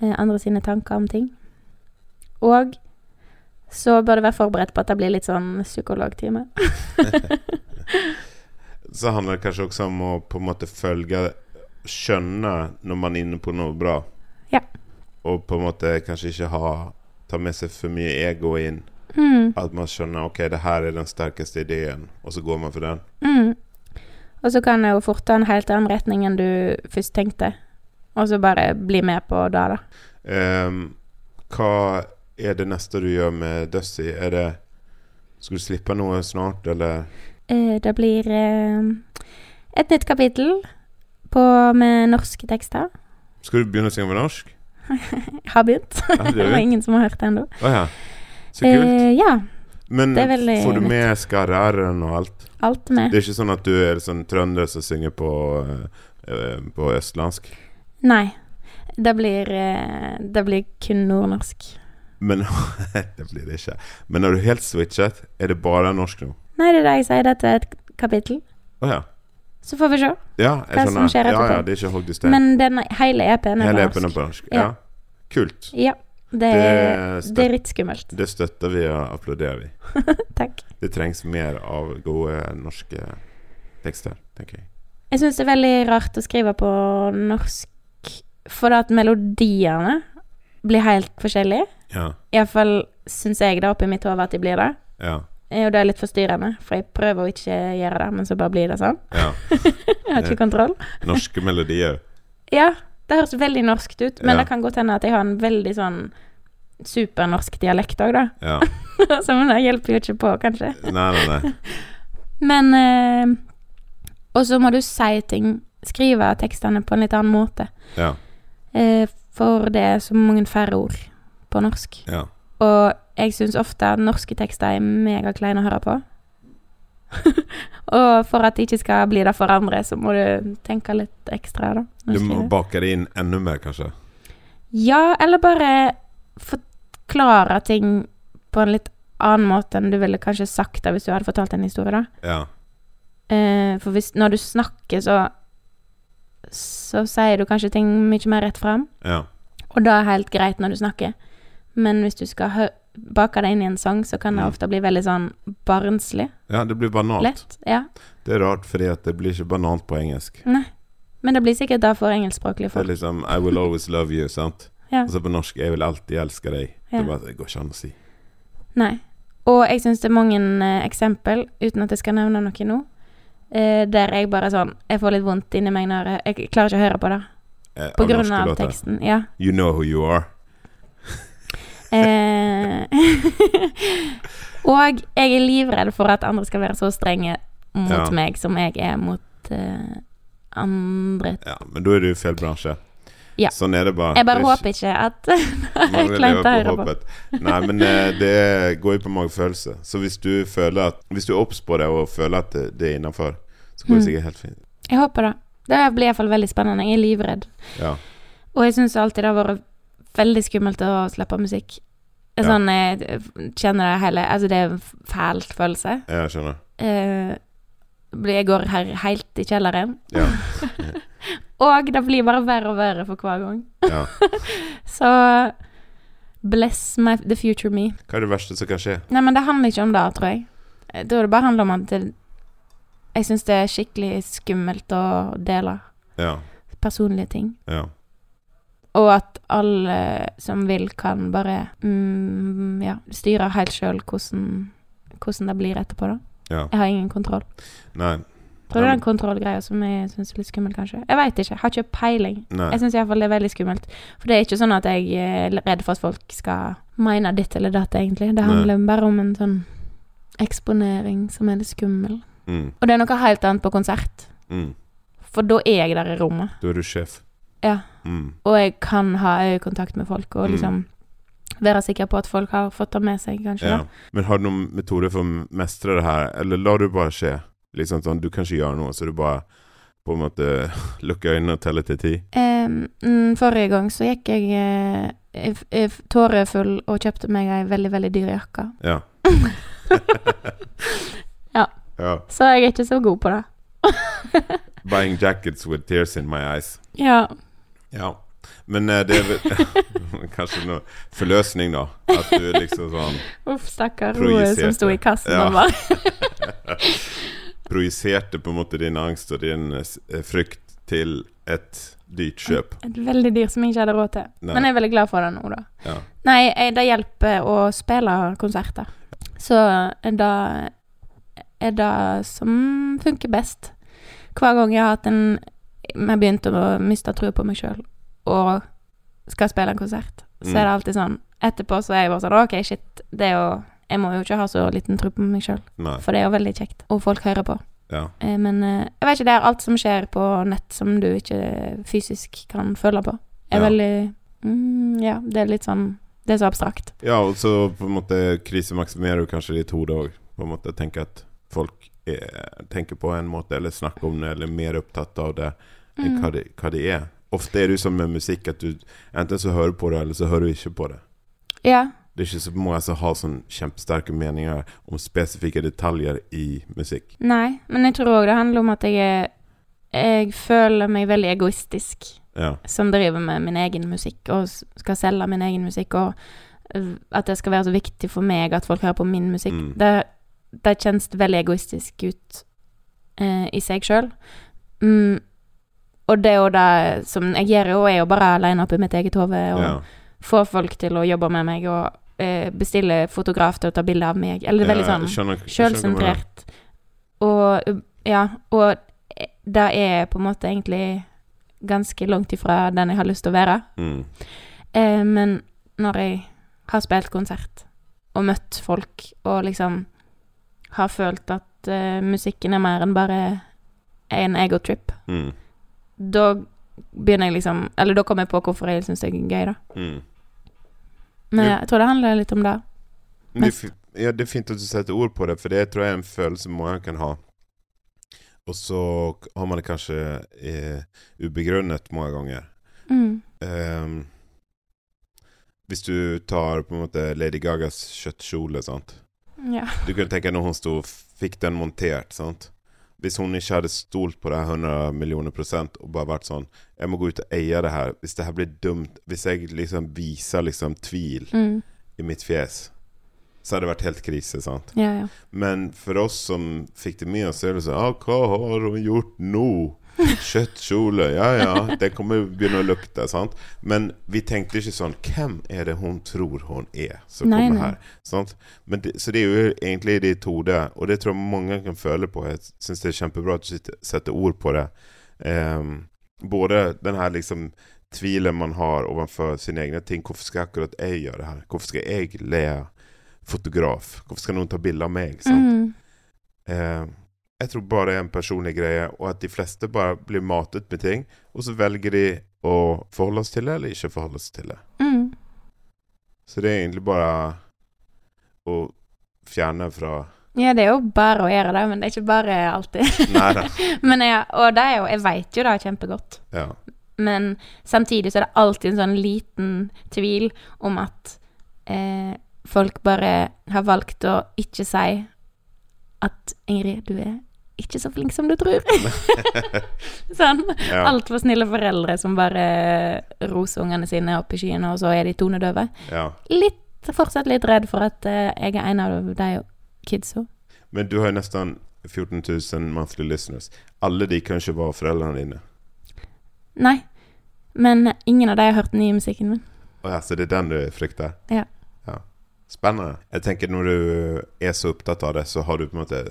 [SPEAKER 2] eh, andre sine tanker om ting. Og så bør du være forberedt på at det blir litt sånn psykologtime.
[SPEAKER 1] Så handler det kanskje også om å på en måte følge Skjønne når man er inne på noe bra.
[SPEAKER 2] Ja.
[SPEAKER 1] Og på en måte kanskje ikke ha ta med seg for mye ego inn.
[SPEAKER 2] Mm,
[SPEAKER 1] At man skjønner ok, det her er den sterkeste ideen, og så går man for den.
[SPEAKER 2] mm. Og så kan det jo fort ta en helt annen retning enn du først tenkte. Og så bare bli med på det, da.
[SPEAKER 1] Ehm, hva er det neste du gjør med Dusty? Er det Skal du slippe noe snart, eller?
[SPEAKER 2] Eh, Det blir eh, et nytt kapittel på, med norske tekster.
[SPEAKER 1] Skal du begynne å synge på norsk?
[SPEAKER 2] Jeg har begynt.
[SPEAKER 1] Ja, det
[SPEAKER 2] Det
[SPEAKER 1] er
[SPEAKER 2] var
[SPEAKER 1] jo-
[SPEAKER 2] ingen som har hørt det ennå.
[SPEAKER 1] Å ja. Så kult.
[SPEAKER 2] Eh, ja.
[SPEAKER 1] Men
[SPEAKER 2] det er veldig
[SPEAKER 1] får du med skarreren og alt?
[SPEAKER 2] Alt med.
[SPEAKER 1] Det er ikke sånn at du er sånn trønder som synger på, eh, på østlandsk?
[SPEAKER 2] Nei. Det blir, eh, det blir kun nordnorsk.
[SPEAKER 1] Men det blir det ikke. Men har du helt switchet? Er det bare norsk nå?
[SPEAKER 2] Nei, det er det jeg sier. Dette er et kapittel.
[SPEAKER 1] Å ja.
[SPEAKER 2] Så får vi se.
[SPEAKER 1] Ja,
[SPEAKER 2] Hva
[SPEAKER 1] jeg
[SPEAKER 2] som
[SPEAKER 1] skjønner.
[SPEAKER 2] skjer
[SPEAKER 1] Ja, ja,
[SPEAKER 2] etterpå.
[SPEAKER 1] det er ikke hogd i stein.
[SPEAKER 2] Men den hele EP-en er
[SPEAKER 1] Hele
[SPEAKER 2] norsk.
[SPEAKER 1] appen er på norsk.
[SPEAKER 2] Ja.
[SPEAKER 1] Ja. Kult.
[SPEAKER 2] Ja. Det er,
[SPEAKER 1] Det,
[SPEAKER 2] det er
[SPEAKER 1] støt,
[SPEAKER 2] litt skummelt.
[SPEAKER 1] det støtter vi og applauderer vi.
[SPEAKER 2] Takk.
[SPEAKER 1] Det trengs mer av gode norske tekster, tenker jeg.
[SPEAKER 2] Jeg syns det er veldig rart å skrive på norsk, for at melodiene blir helt forskjellige.
[SPEAKER 1] Ja.
[SPEAKER 2] Iallfall syns jeg det oppi mitt hode at de blir det.
[SPEAKER 1] Ja.
[SPEAKER 2] Eh, Og det er litt forstyrrende, for jeg prøver å ikke gjøre det, men så bare blir det sånn.
[SPEAKER 1] ja.
[SPEAKER 2] Jeg har ikke kontroll.
[SPEAKER 1] Norske melodier.
[SPEAKER 2] Ja, det høres veldig norskt ut, men
[SPEAKER 1] Ja.
[SPEAKER 2] det kan godt hende at jeg har en veldig sånn supernorsk dialekt òg, da.
[SPEAKER 1] Ja.
[SPEAKER 2] Så men det hjelper jo ikke på, kanskje.
[SPEAKER 1] Nei, nei, nei.
[SPEAKER 2] Men eh, Og så må du si ting, skrive tekstene på en litt annen måte.
[SPEAKER 1] Ja.
[SPEAKER 2] Eh, for det er så mange færre ord på norsk.
[SPEAKER 1] ja.
[SPEAKER 2] Og jeg syns ofte at norske tekster er megakleine å høre på. og for at det ikke skal bli det for andre, så må du tenke litt ekstra, da. når
[SPEAKER 1] Du må
[SPEAKER 2] skriver.
[SPEAKER 1] bake det inn enda mer, kanskje.
[SPEAKER 2] Ja, eller bare forklare ting på en litt annen måte enn du ville kanskje sagt det hvis du hadde fortalt en historie, da.
[SPEAKER 1] Ja.
[SPEAKER 2] Eh, for hvis, når du snakker, så så sier du kanskje ting mye mer rett fram,
[SPEAKER 1] Ja.
[SPEAKER 2] og da er helt greit når du snakker. Men hvis du skal hø bake det inn i en sang, så kan det
[SPEAKER 1] Mm.
[SPEAKER 2] ofte bli veldig sånn barnslig.
[SPEAKER 1] ja, det blir banalt.
[SPEAKER 2] Lett. Ja.
[SPEAKER 1] Det er rart, fordi at det blir ikke banalt på engelsk.
[SPEAKER 2] Nei. Men det blir sikkert det for engelskspråklige
[SPEAKER 1] Det er
[SPEAKER 2] folk.
[SPEAKER 1] liksom I will always love you, sant?
[SPEAKER 2] Ja.
[SPEAKER 1] Og så på norsk Jeg vil alltid elske deg. Det,
[SPEAKER 2] Ja.
[SPEAKER 1] er bare, det går ikke an å si.
[SPEAKER 2] Nei. Og jeg syns det er mange eh, eksempel, uten at jeg skal nevne noe nå, eh, der jeg bare sånn Jeg får litt vondt inni meg når jeg, jeg klarer ikke å høre på det.
[SPEAKER 1] Eh,
[SPEAKER 2] På
[SPEAKER 1] av
[SPEAKER 2] grunn
[SPEAKER 1] norske
[SPEAKER 2] av
[SPEAKER 1] låter.
[SPEAKER 2] teksten. Ja.
[SPEAKER 1] You know who you are.
[SPEAKER 2] Eh, og jeg er livredd for at andre skal være så strenge mot
[SPEAKER 1] Ja.
[SPEAKER 2] meg som jeg er mot eh, andre.
[SPEAKER 1] Ja, men da er du i feil bransje.
[SPEAKER 2] Ja.
[SPEAKER 1] Sånn er det bare.
[SPEAKER 2] Jeg bare
[SPEAKER 1] Det er ikke-
[SPEAKER 2] håper ikke at det
[SPEAKER 1] Man
[SPEAKER 2] er
[SPEAKER 1] vil
[SPEAKER 2] kleint
[SPEAKER 1] leve
[SPEAKER 2] å
[SPEAKER 1] på
[SPEAKER 2] høre på.
[SPEAKER 1] håpet. Nei, men eh, det går jo på magefølelse. Så hvis du føler at Hvis du er obs på det og føler at det, det er innafor, så går det
[SPEAKER 2] Mm.
[SPEAKER 1] sikkert helt fint.
[SPEAKER 2] Jeg håper det. Det blir iallfall veldig spennende. Jeg er livredd.
[SPEAKER 1] Ja.
[SPEAKER 2] Og jeg syns alltid det har vært veldig skummelt å slippe musikk.
[SPEAKER 1] Ja.
[SPEAKER 2] Sånn, jeg kjenner det hele Altså, det er en fælt følelse.
[SPEAKER 1] Jeg skjønner.
[SPEAKER 2] Eh, blir- jeg går her helt i kjelleren.
[SPEAKER 1] Ja.
[SPEAKER 2] Og det blir bare verre og verre for hver gang.
[SPEAKER 1] ja.
[SPEAKER 2] Så bless my, the future me.
[SPEAKER 1] Hva er det verste som kan skje?
[SPEAKER 2] Nei, men det handler ikke om det, tror jeg. Jeg tror det bare handler om at det, jeg syns det er skikkelig skummelt å dele
[SPEAKER 1] Ja.
[SPEAKER 2] personlige ting.
[SPEAKER 1] Ja.
[SPEAKER 2] Og at alle som vil, kan bare mm, ja, styre helt sjøl hvordan, hvordan det blir etterpå, da.
[SPEAKER 1] Ja.
[SPEAKER 2] Jeg har ingen kontroll.
[SPEAKER 1] Nei.
[SPEAKER 2] Tror du
[SPEAKER 1] Ja,
[SPEAKER 2] det er
[SPEAKER 1] men-
[SPEAKER 2] en kontrollgreie som jeg syns er litt skummel, kanskje? Jeg veit ikke. Jeg har ikke peiling.
[SPEAKER 1] Nei.
[SPEAKER 2] Jeg syns iallfall det er veldig skummelt. For det er ikke sånn at jeg er redd for at folk skal mene ditt eller datt, egentlig. Det
[SPEAKER 1] Nei.
[SPEAKER 2] handler bare om en sånn eksponering som er litt skummel.
[SPEAKER 1] Mm.
[SPEAKER 2] Og det er noe helt annet på konsert,
[SPEAKER 1] Mm.
[SPEAKER 2] for da er jeg der i rommet.
[SPEAKER 1] Da er du sjef.
[SPEAKER 2] Ja.
[SPEAKER 1] Mm.
[SPEAKER 2] Og jeg kan ha øyekontakt med folk og
[SPEAKER 1] Mm.
[SPEAKER 2] liksom være sikker på at folk har fått det med seg, kanskje.
[SPEAKER 1] ja. Men har du noen metode for å mestre det her, eller lar du bare skje? Liksom sånn, Du kan ikke gjøre noe, så du bare på eh, en måte lukker øynene og teller til ti?
[SPEAKER 2] Da. Eh, mm, forrige gang så gikk jeg eh, f- f- tårefull og kjøpte meg ei veldig, veldig dyr jakke.
[SPEAKER 1] Ja.
[SPEAKER 2] Ja.
[SPEAKER 1] ja.
[SPEAKER 2] Så jeg er ikke så god på det.
[SPEAKER 1] Buying jackets with tears in my eyes.
[SPEAKER 2] Ja.
[SPEAKER 1] Ja. Men eh, det er vel kanskje noe forløsning, da. At du liksom sånn
[SPEAKER 2] Uff, stakkar hun
[SPEAKER 1] Projiserte.
[SPEAKER 2] som sto i kassen
[SPEAKER 1] Ja.
[SPEAKER 2] og bare
[SPEAKER 1] projiserte på en måte din angst og din eh, s- eh, frykt til et dyrt kjøp.
[SPEAKER 2] Et veldig dyr som jeg ikke hadde råd til.
[SPEAKER 1] Nei.
[SPEAKER 2] Men jeg er veldig glad for det nå, da.
[SPEAKER 1] Ja.
[SPEAKER 2] Nei, jeg, det hjelper å spille konserter. Så er det er det som funker best. Hver gang jeg har hatt en Jeg begynte å miste trua på meg sjøl og skal spille en konsert, så
[SPEAKER 1] Mm.
[SPEAKER 2] er det alltid sånn Etterpå så er jeg bare sånn OK, shit, det er jo Jeg må jo ikke ha så liten tro på meg sjøl,
[SPEAKER 1] Nei.
[SPEAKER 2] for det er jo veldig kjekt, og folk hører på.
[SPEAKER 1] Ja.
[SPEAKER 2] Eh, Men eh, jeg vet ikke, det er alt som skjer på nett som du ikke fysisk kan føle på. Er
[SPEAKER 1] Ja.
[SPEAKER 2] veldig mm, Ja, det er litt sånn Det er så abstrakt.
[SPEAKER 1] ja, og så på en måte krisemaksimerer du kanskje ditt hode òg. På en måte tenker at folk eh, tenker på en måte, eller snakker om det, eller er mer opptatt av det
[SPEAKER 2] Mm.
[SPEAKER 1] enn hva det, hva det er. Ofte er det jo som med musikk, at du enten så hører du på det, eller så hører du ikke på det.
[SPEAKER 2] Ja.
[SPEAKER 1] Det er ikke så mange som har sånn kjempesterke meninger om spesifikke detaljer i musikk.
[SPEAKER 2] Nei, men jeg tror òg det handler om at jeg er Jeg føler meg veldig egoistisk
[SPEAKER 1] Ja.
[SPEAKER 2] som driver med min egen musikk og s- skal selge min egen musikk, og eh, at det skal være så viktig for meg at folk hører på min musikk.
[SPEAKER 1] Mm.
[SPEAKER 2] Det, det kjennes veldig egoistisk ut eh, i seg sjøl. Mm. Og det er jo det som jeg gjør, jo, er jo bare aleine oppe i mitt eget hode og
[SPEAKER 1] ja.
[SPEAKER 2] få folk til å jobbe med meg og eh, bestille fotograf til å ta bilde av meg, eller veldig sånn Sjølsentrert. Og uh, ja, og eh, det er på en måte egentlig ganske langt ifra den jeg har lyst til å være.
[SPEAKER 1] Mm.
[SPEAKER 2] Eh, men når jeg har spilt konsert og møtt folk og liksom har følt at eh, musikken er mer enn bare en egotrip,
[SPEAKER 1] Mm.
[SPEAKER 2] da begynner jeg liksom Eller da kommer jeg på hvorfor jeg syns det er gøy, da.
[SPEAKER 1] Mm.
[SPEAKER 2] Men
[SPEAKER 1] Ja.
[SPEAKER 2] jeg tror det handler litt om det.
[SPEAKER 1] Men Det,
[SPEAKER 2] Mest.
[SPEAKER 1] er fi- ja, det er fint at du setter ord på det, for det tror jeg er en følelse mange kan ha. Og så k- har man det kanskje eh, ubegrunnet mange ganger.
[SPEAKER 2] Mm.
[SPEAKER 1] Ehm, hvis du tar på en måte Lady Gagas kjøttkjole, sant?
[SPEAKER 2] Ja.
[SPEAKER 1] Du kunne tenke deg når hun sto, fikk den montert, sant? Hvis hun ikke hadde stolt på det her 100 millioner prosent og bare vært sånn Jeg må gå ut og eie det her. Hvis det her blir dumt Hvis jeg liksom viser liksom tvil
[SPEAKER 2] Mm.
[SPEAKER 1] i mitt fjes, så hadde det vært helt krise, sant?
[SPEAKER 2] ja, ja.
[SPEAKER 1] Men for oss som fikk det med oss, så er det sånn ah, Hva har hun gjort nå? Kjøttkjole. Ja ja, det kommer begynne å lukte. sant? Men vi tenkte ikke sånn Hvem er det hun tror hun er, som
[SPEAKER 2] Nei,
[SPEAKER 1] kommer
[SPEAKER 2] nei.
[SPEAKER 1] her? Sant? Men det, så det er jo egentlig i ditt hode, og det tror jeg mange kan føle på. Jeg syns det er kjempebra at du sitter- setter ord på det. Ehm, både den her liksom tvilen man har overfor sine egne ting. Hvorfor skal akkurat jeg gjøre det her? Hvorfor skal jeg le fotograf? Hvorfor skal noen ta bilde av meg? Sant?
[SPEAKER 2] Mm.
[SPEAKER 1] Eh, jeg tror bare det er en personlig greie, og at de fleste bare blir matet med ting, og så velger de å forholde oss til det, eller ikke forholde oss til det.
[SPEAKER 2] Mm.
[SPEAKER 1] Så det er egentlig bare å fjerne fra
[SPEAKER 2] Ja, det er jo bare å gjøre det, men det er ikke bare alltid.
[SPEAKER 1] Nei da.
[SPEAKER 2] men jeg, og det er jo, jeg vet jo det er kjempegodt,
[SPEAKER 1] Ja.
[SPEAKER 2] men samtidig så er det alltid en sånn liten tvil om at eh, folk bare har valgt å ikke si at Ingrid, du er ikke så flink som du tror. sånn.
[SPEAKER 1] ja.
[SPEAKER 2] Altfor snille foreldre som bare roser ungene sine opp i skyene, og så er de tonedøve.
[SPEAKER 1] ja.
[SPEAKER 2] Litt, fortsatt litt redd for at eh, jeg er en av de kidsa.
[SPEAKER 1] Men du har jo nesten 14 000 monthly listeners. Alle de kan ikke være foreldrene dine.
[SPEAKER 2] Nei. Men ingen av de har hørt den nye musikken min.
[SPEAKER 1] Å ja, så det er den du frykter?
[SPEAKER 2] Ja.
[SPEAKER 1] ja. Spennende. Jeg tenker når du er så opptatt av det, så har du på en måte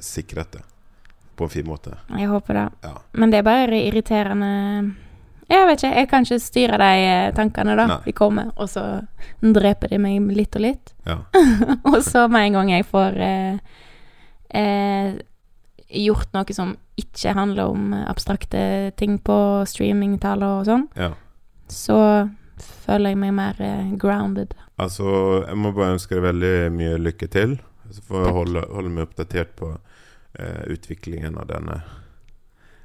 [SPEAKER 1] sikret det på en fin måte.
[SPEAKER 2] Jeg håper det.
[SPEAKER 1] Ja.
[SPEAKER 2] Men det er bare irriterende Jeg vet ikke, jeg kan ikke styre de eh, tankene, da.
[SPEAKER 1] Nei.
[SPEAKER 2] De kommer, og så dreper de meg litt og litt.
[SPEAKER 1] Ja.
[SPEAKER 2] og så med en gang jeg får eh, eh, gjort noe som ikke handler om eh, abstrakte ting på streamingtall og sånn,
[SPEAKER 1] ja.
[SPEAKER 2] så føler jeg meg mer eh, grounded.
[SPEAKER 1] Altså, jeg må bare ønske deg veldig mye lykke til. Så får jeg
[SPEAKER 2] Takk.
[SPEAKER 1] holde, holde meg oppdatert på eh, utviklingen av denne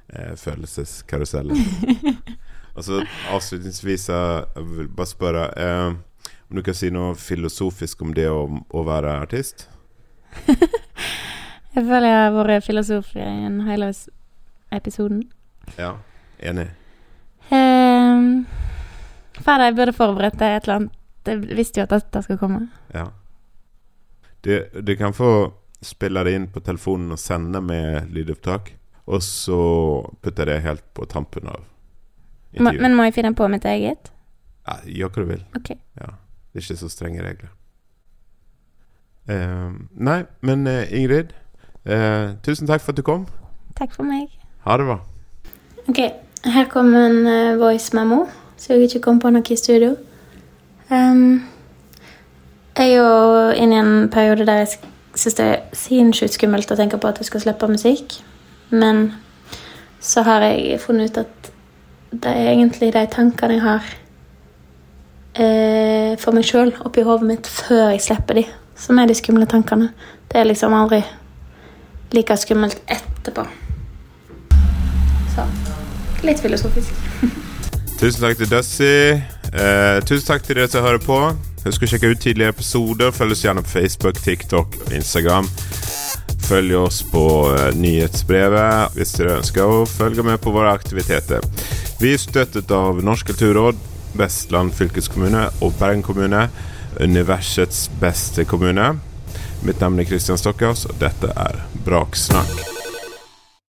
[SPEAKER 1] eh, følelseskarusellen. Og så avslutningsvis eh, jeg vil bare spørre eh, om du kan si noe filosofisk om det å, å være artist?
[SPEAKER 2] Jeg føler jeg har vært filosof i en hele s- episoden.
[SPEAKER 1] Ja. Enig?
[SPEAKER 2] Um, Fader, jeg burde forberedt deg et eller annet. Jeg visste jo at dette skulle komme.
[SPEAKER 1] Ja. Du, du kan få spille det inn på telefonen og sende med lydopptak, og så putter jeg det helt på tampen av
[SPEAKER 2] Må,
[SPEAKER 1] intervjuet.
[SPEAKER 2] men må jeg finne på mitt eget?
[SPEAKER 1] Ja, gjør hva du vil.
[SPEAKER 2] Ok.
[SPEAKER 1] Ja, det er ikke så strenge regler. Eh, nei, men eh, Ingrid, eh, tusen takk for at du kom.
[SPEAKER 2] Takk for meg.
[SPEAKER 1] Ha det bra.
[SPEAKER 2] Ok, her kom en eh, voice memo, så jeg ikke kom på noe i studio. Ehm, jeg er jo inne i en periode der jeg syns det er sinnssykt skummelt å tenke på at jeg skal slippe musikk. Men så har jeg funnet ut at det er egentlig de tankene jeg har eh, for meg sjøl oppi hodet mitt før jeg slipper de, som er de skumle tankene. Det er liksom aldri like skummelt etterpå. Så litt filosofisk.
[SPEAKER 1] Tusen takk til Dusty. Eh, tusen takk til dere som hører på. Husk å sjekke ut tidligere episoder. Følg oss gjerne på Facebook, TikTok og Instagram. Følg oss på eh, nyhetsbrevet hvis dere ønsker å følge med på våre aktiviteter. Vi er støttet av Norsk kulturråd, Vestland fylkeskommune og Bergen kommune. Universets beste kommune. Mitt navn er Christian Stockhaus, og dette er Braksnakk.